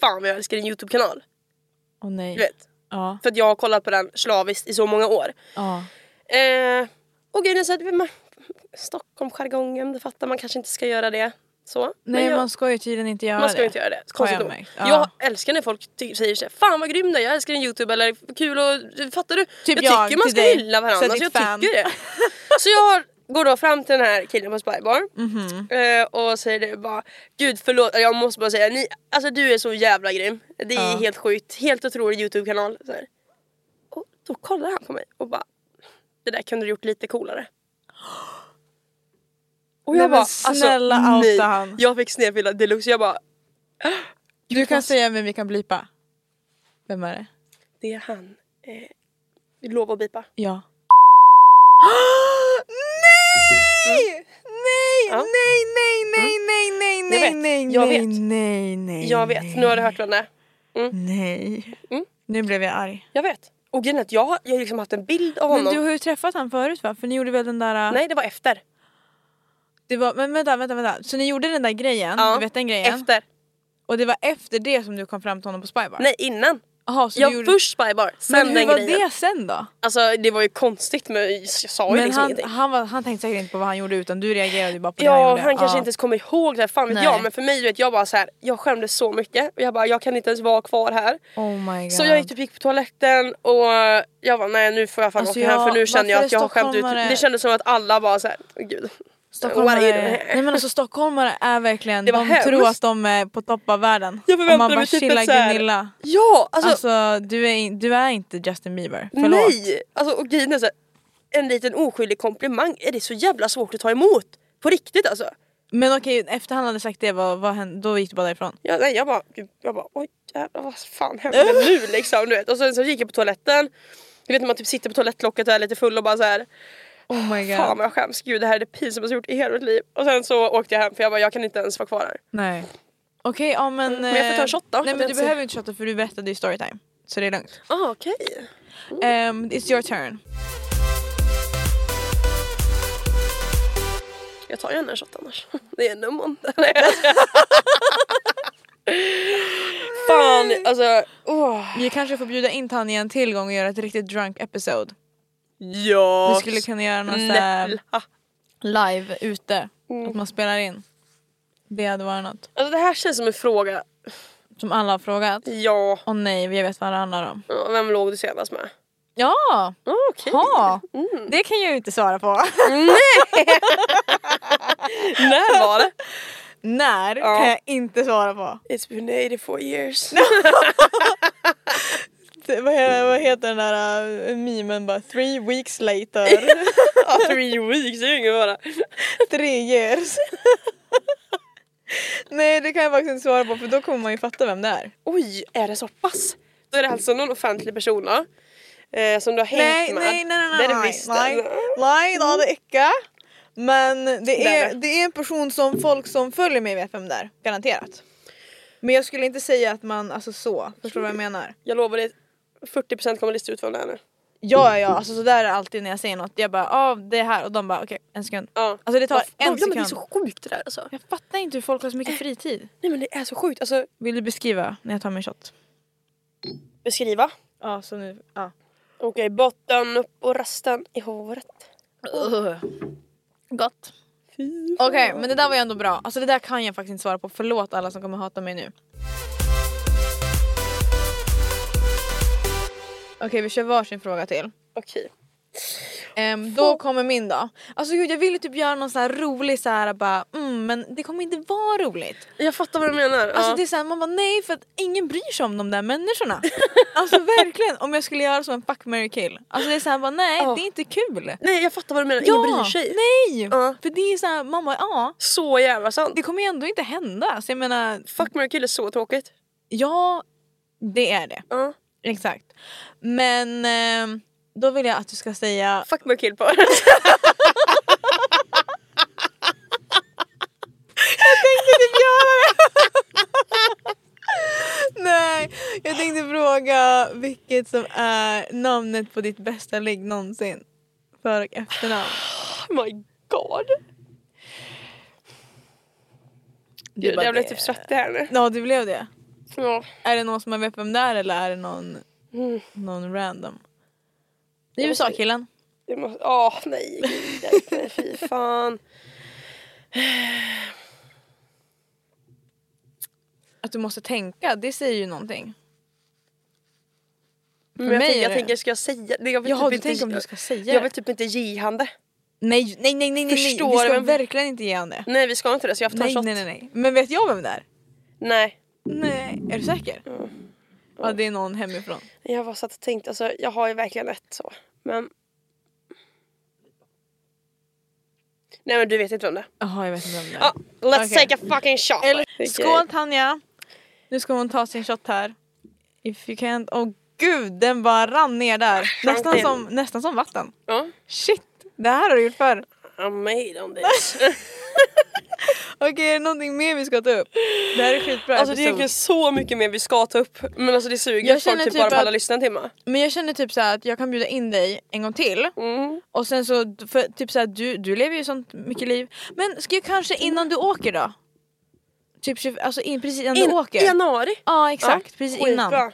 Speaker 1: fan vad jag älskar din Youtube-kanal.
Speaker 2: Åh
Speaker 1: Du
Speaker 2: nej.
Speaker 1: vet.
Speaker 2: Ja.
Speaker 1: För att jag har kollat på den slaviskt i så många år.
Speaker 2: ja.
Speaker 1: Eh, och grejen är så att man, Stockholm jargongen, det fattar man kanske inte ska göra det. Så. Men
Speaker 2: Nej
Speaker 1: jag,
Speaker 2: man ska ju tydligen inte göra
Speaker 1: man ska
Speaker 2: det.
Speaker 1: ju inte göra det. Konstigt
Speaker 2: jag
Speaker 1: nog.
Speaker 2: märkt.
Speaker 1: Jag
Speaker 2: Ja.
Speaker 1: älskar när folk ty- säger så här, fan vad grym du är, jag älskar din Youtube eller kul och fattar du?
Speaker 2: Typ
Speaker 1: jag
Speaker 2: jag
Speaker 1: tycker man
Speaker 2: till
Speaker 1: ska
Speaker 2: dig,
Speaker 1: hylla varandra.
Speaker 2: säg
Speaker 1: Så
Speaker 2: ditt
Speaker 1: jag
Speaker 2: fan.
Speaker 1: tycker det. Så jag går då fram till den här killen på Spybar
Speaker 2: Mhm.
Speaker 1: eh, och säger det bara Gud förlåt, jag måste bara säga, ni, alltså du är så jävla grym. Det är helt sjukt, helt otrolig Youtube-kanal. Så här. Och då kollar han på mig och bara det där kunde du gjort lite coolare. Och
Speaker 2: Nej,
Speaker 1: jag
Speaker 2: men
Speaker 1: bara
Speaker 2: snälla,
Speaker 1: alltså,
Speaker 2: outa
Speaker 1: nej.
Speaker 2: han.
Speaker 1: Jag fick snedfylla deluxe, jag bara
Speaker 2: Du kan säga men vi kan blipa. Vem är det?
Speaker 1: det är han. Eh, lov att bipa.
Speaker 2: Ja. nej! Nej,
Speaker 1: Ja.
Speaker 2: nej, nej, nej, nej, nej,
Speaker 1: Jag
Speaker 2: nej,
Speaker 1: vet, jag
Speaker 2: nej, nej,
Speaker 1: vet.
Speaker 2: nej, nej,
Speaker 1: Jag vet,
Speaker 2: nej,
Speaker 1: nu har du hört vem det är.
Speaker 2: Nej.
Speaker 1: Mm.
Speaker 2: Nu blev jag arg.
Speaker 1: Jag vet. Och grejen är att jag, har- jag har liksom haft en bild av
Speaker 2: Men
Speaker 1: honom.
Speaker 2: du har ju träffat han förut va? För ni gjorde väl den där...
Speaker 1: Nej det var efter.
Speaker 2: Det var, men vänta, vänta, vänta. Så ni gjorde den där grejen,
Speaker 1: Ja.
Speaker 2: du vet den grejen?
Speaker 1: Efter.
Speaker 2: Och det var efter det som du kom fram till honom på Spybar?
Speaker 1: Nej innan.
Speaker 2: Jaha, så
Speaker 1: jag
Speaker 2: du gjorde...
Speaker 1: först spybar, sen
Speaker 2: men hur
Speaker 1: den
Speaker 2: var
Speaker 1: grejen.
Speaker 2: det sen då?
Speaker 1: Alltså det var ju konstigt men jag sa ju
Speaker 2: Men
Speaker 1: liksom
Speaker 2: han,
Speaker 1: ingenting.
Speaker 2: han, var, han tänkte säkert inte på vad han gjorde utan du reagerade ju bara på det han
Speaker 1: Ja
Speaker 2: gjorde.
Speaker 1: han kanske inte ens kommer ihåg det här, fan vet
Speaker 2: Nej.
Speaker 1: jag. Men för mig du vet jag bara så här, jag skämdes så mycket. Och jag bara jag kan inte ens vara kvar här.
Speaker 2: Oh my god.
Speaker 1: Så jag gick typ gick på toaletten och jag bara nej nu får jag fan
Speaker 2: Alltså,
Speaker 1: åka hem för nu
Speaker 2: jag-
Speaker 1: känner jag
Speaker 2: varför
Speaker 1: att jag har skämt ut.
Speaker 2: stockholmare-
Speaker 1: Det kändes som att alla bara såhär, gud.
Speaker 2: Stockholmare,
Speaker 1: What are you doing here?
Speaker 2: nej men alltså stockholmare är verkligen,
Speaker 1: Det var
Speaker 2: de
Speaker 1: hemskt.
Speaker 2: tror att de är på topp av världen.
Speaker 1: Jag förväntade
Speaker 2: Och man bara
Speaker 1: mig typ
Speaker 2: chilla
Speaker 1: ett så här-
Speaker 2: Gunilla.
Speaker 1: Ja alltså,
Speaker 2: Alltså du är, in- du är inte Justin Bieber, förlåt.
Speaker 1: nej! Alltså och grejen är så här, en liten oskyldig komplimang är det så jävla svårt att ta emot. På riktigt alltså.
Speaker 2: Men okej, efter han hade sagt det, vad, vad hände, då gick du bara därifrån?
Speaker 1: Jag, nej, jag bara, gud, jag bara oj jävlar vad fan hände nu liksom du vet. Och sen så gick jag på toaletten. Du vet när man typ sitter på toalettlocket och är lite full och bara så här.
Speaker 2: Oh my god.
Speaker 1: Fan vad jag skäms, gud det här är det pinsammaste jag gjort i hela mitt liv. Och sen så åkte jag hem för jag bara jag kan inte ens vara kvar här.
Speaker 2: Nej. Okej, ja men... eh,
Speaker 1: Men jag får ta en shot då,
Speaker 2: Nej
Speaker 1: att jag
Speaker 2: men du
Speaker 1: inte-
Speaker 2: behöver inte shotta för du berättade ju storytime. Så det är lugnt.
Speaker 1: Ah, okej.
Speaker 2: Um, it's your turn.
Speaker 1: Jag tar gärna en shot annars. Det är en måndag. Nej. Fan alltså. Åh.
Speaker 2: Vi kanske får bjuda in Tanja en till gång och göra ett riktigt drunk episode.
Speaker 1: Ja.
Speaker 2: Vi skulle kunna göra något såhär
Speaker 1: snälla.
Speaker 2: live ute.
Speaker 1: Mm.
Speaker 2: Att man spelar in. Det hade varit något.
Speaker 1: Alltså det här känns som en fråga.
Speaker 2: Som alla har frågat.
Speaker 1: Ja.
Speaker 2: Åh nej, vi vet vad det handlar om.
Speaker 1: Ja, Vem låg du senast med?
Speaker 2: Ja!
Speaker 1: Ah, Okej.
Speaker 2: Ha! Det kan jag ju inte svara på.
Speaker 1: När var det?
Speaker 2: När
Speaker 1: Ja.
Speaker 2: kan jag inte svara på.
Speaker 1: It's been 84 years.
Speaker 2: Det- Vad he- vad heter den där äh, memen bara? Three weeks later.
Speaker 1: Ja, Three weeks, det är ju ingen fara.
Speaker 2: Tre years. Nej det kan jag faktiskt inte svara på för då kommer man ju fatta vem det är.
Speaker 1: Oj, är det så pass? Då är det alltså någon offentlig person då? Eh, som du har hängt med? Det är det visst.
Speaker 2: nej, nej det är det icke. Men det
Speaker 1: är
Speaker 2: är,
Speaker 1: det.
Speaker 2: det är en person som folk som följer mig vet vem det är, garanterat. Men jag skulle inte säga att man, alltså så, förstår du vad jag menar?
Speaker 1: Jag lovar dig, 40% kommer lista ut vem det är nu.
Speaker 2: Ja ja, alltså sådär är det alltid när jag säger något. Jag bara ja ah, det här och de bara okej en sekund.
Speaker 1: Ja.
Speaker 2: Alltså det tar
Speaker 1: Varför-
Speaker 2: en
Speaker 1: ja, men
Speaker 2: sekund.
Speaker 1: det är så sjukt det där alltså.
Speaker 2: Jag fattar inte hur folk har så mycket fritid.
Speaker 1: Nej men det är så sjukt. Alltså
Speaker 2: Vill du beskriva när jag tar min shot?
Speaker 1: beskriva.
Speaker 2: Ja så nu, ja.
Speaker 1: Okej, botten upp och resten i håret.
Speaker 2: Gott. Okej, men det där var ju ändå bra. Alltså det där kan jag faktiskt inte svara på. Förlåt alla som kommer hata mig nu. Okej, vi kör varsin fråga till.
Speaker 1: Okej.
Speaker 2: Ehm, då kommer min då. Alltså gud, jag ville typ göra någon sån här rolig så här bara mm, men det kommer inte vara roligt.
Speaker 1: Jag fattar vad du menar.
Speaker 2: Alltså
Speaker 1: ja.
Speaker 2: det är såhär, man bara nej för att ingen bryr sig om de där människorna. alltså verkligen, om jag skulle göra som en fuck, marry, kill. Alltså det är såhär, bara, nej
Speaker 1: Ja.
Speaker 2: det är inte kul.
Speaker 1: Nej jag fattar vad du menar,
Speaker 2: Ja,
Speaker 1: ingen bryr sig.
Speaker 2: Nej!
Speaker 1: Ja.
Speaker 2: För det är såhär, man bara ja.
Speaker 1: Så jävla sant.
Speaker 2: Det kommer ju ändå inte hända. Så jag menar,
Speaker 1: Fuck, marry, kill är så tråkigt.
Speaker 2: ja det är det.
Speaker 1: Ja.
Speaker 2: Exakt. Men ehm, då vill jag att du ska säga Oh
Speaker 1: Fuck, marry, kill på
Speaker 2: vilket som är namnet på ditt bästa ligg någonsin? För och efternamn.
Speaker 1: Oh my god.
Speaker 2: Det är bara
Speaker 1: jag blev
Speaker 2: det.
Speaker 1: typ svettig här nu.
Speaker 2: Ja, det blev det.
Speaker 1: Ja.
Speaker 2: Är det någon som man vet vem det är eller är det någon, någon random? Mm. Det är USA-killen.
Speaker 1: Det måste, åh nej, hjälp mig, fy fan.
Speaker 2: Att du måste tänka, det säger ju någonting.
Speaker 1: Men jag,
Speaker 2: mig
Speaker 1: tänker,
Speaker 2: är
Speaker 1: jag
Speaker 2: det-
Speaker 1: tänker, ska jag säga det? Jag vill
Speaker 2: Jaha,
Speaker 1: typ
Speaker 2: du
Speaker 1: inte,
Speaker 2: tänker om du ska säga
Speaker 1: Jag
Speaker 2: det.
Speaker 1: vill typ inte ge han det.
Speaker 2: Nej, nej, nej, nej, nej.
Speaker 1: Förstår
Speaker 2: vi ska
Speaker 1: vem-
Speaker 2: verkligen inte ge han det.
Speaker 1: Nej vi ska inte det så jag får ta en
Speaker 2: Nej,
Speaker 1: shot.
Speaker 2: nej, nej, nej. Men vet jag vem det är?
Speaker 1: nej.
Speaker 2: Nej. Är du säker? Ja, det är någon hemifrån.
Speaker 1: Jag var satt och tänkte, alltså jag har ju verkligen ett så. Men... Nej men du vet inte vem det är.
Speaker 2: Jaha, jag vet inte vem det är.
Speaker 1: Ah, let's
Speaker 2: Okej.
Speaker 1: take a fucking shot!
Speaker 2: Eller,
Speaker 1: Okej.
Speaker 2: skål Tanja! Nu ska hon ta sin shot här. If you can't... Åh gud, den bara rann ner där. Nästan
Speaker 1: till.
Speaker 2: som, nästan som vatten.
Speaker 1: Ja.
Speaker 2: Shit, det här har du gjort förr.
Speaker 1: I made on this.
Speaker 2: Okej, är det någonting mer vi ska ta upp? Det här är skitbra
Speaker 1: alltså det är
Speaker 2: episod.
Speaker 1: egentligen så mycket mer vi ska ta upp. Men alltså det suger
Speaker 2: Jag
Speaker 1: att folk
Speaker 2: känner
Speaker 1: typ
Speaker 2: typ
Speaker 1: bara
Speaker 2: att-
Speaker 1: pallar lyssna en timme.
Speaker 2: Men jag känner typ så här att jag kan bjuda in dig en gång till.
Speaker 1: Mm.
Speaker 2: Och sen så, för typ så här, du, du lever ju sånt mycket liv. Men ska jag kanske innan du åker då? Typ 20, alltså in, precis innan
Speaker 1: In,
Speaker 2: du åker.
Speaker 1: januari.
Speaker 2: Ja exakt, precis
Speaker 1: skitbra.
Speaker 2: innan.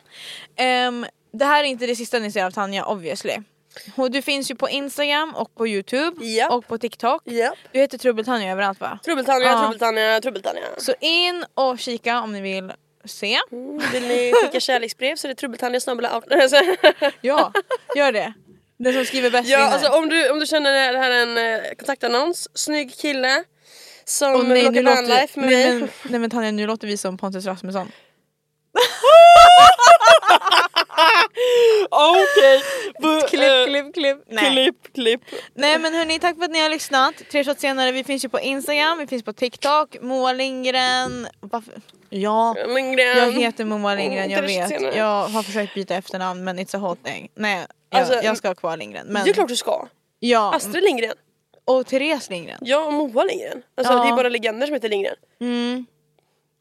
Speaker 2: Ehm, det här är inte det sista ni ser av Tanja obviously. Och du finns ju på Instagram och på Youtube
Speaker 1: Japp.
Speaker 2: och på TikTok.
Speaker 1: Japp.
Speaker 2: Du heter Trubbeltanja överallt va?
Speaker 1: Trubbeltanja,
Speaker 2: Ja.
Speaker 1: trubbeltanja, trubbeltanja.
Speaker 2: Så in och kika om ni vill se.
Speaker 1: Vill ni skicka kärleksbrev så är det trubbeltanja snabel-a- alltså.
Speaker 2: Ja, gör det. Den som skriver bäst
Speaker 1: Ja
Speaker 2: vinner.
Speaker 1: alltså om du, om du känner det här är en eh, kontaktannons, snygg kille som
Speaker 2: Åh,
Speaker 1: rockar vanlife med
Speaker 2: nej,
Speaker 1: mig.
Speaker 2: men, nej men Tanja nu låter vi som Pontus Rasmusson.
Speaker 1: Okej! eh,
Speaker 2: Klipp, klipp, klipp. Nej.
Speaker 1: klipp, klipp.
Speaker 2: nej men hörni tack för att ni har lyssnat. Tre shots senare, vi finns ju på Instagram, vi finns på TikTok, Moa Lindgren. Varför? Ja.
Speaker 1: Men
Speaker 2: Jag
Speaker 1: grejen,
Speaker 2: heter Moa Lindgren, jag
Speaker 1: Tre shots
Speaker 2: vet.
Speaker 1: senare.
Speaker 2: Jag har försökt byta efternamn men it's a whole thing. Nej, jag,
Speaker 1: Alltså,
Speaker 2: jag ska ha kvar Lindgren. Men,
Speaker 1: det är klart du ska.
Speaker 2: Ja,
Speaker 1: Astrid Lindgren,
Speaker 2: och Therese Lindgren.
Speaker 1: jag och Moa Lindgren. Alltså
Speaker 2: Ja.
Speaker 1: det är bara legender som heter Lindgren.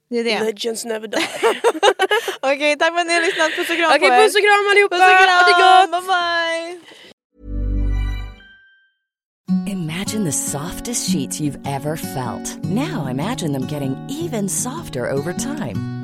Speaker 2: Det är det.
Speaker 1: Legends never die.
Speaker 2: Okej, tack för att ni har lyssnat. Puss och kram
Speaker 1: Okej
Speaker 2: på er.
Speaker 1: puss och kram allihopa!
Speaker 2: Puss och
Speaker 1: Ha det gott!
Speaker 2: kram. Bye bye!
Speaker 4: Imagine the softest sheets you've ever felt. Now imagine them getting even softer over time.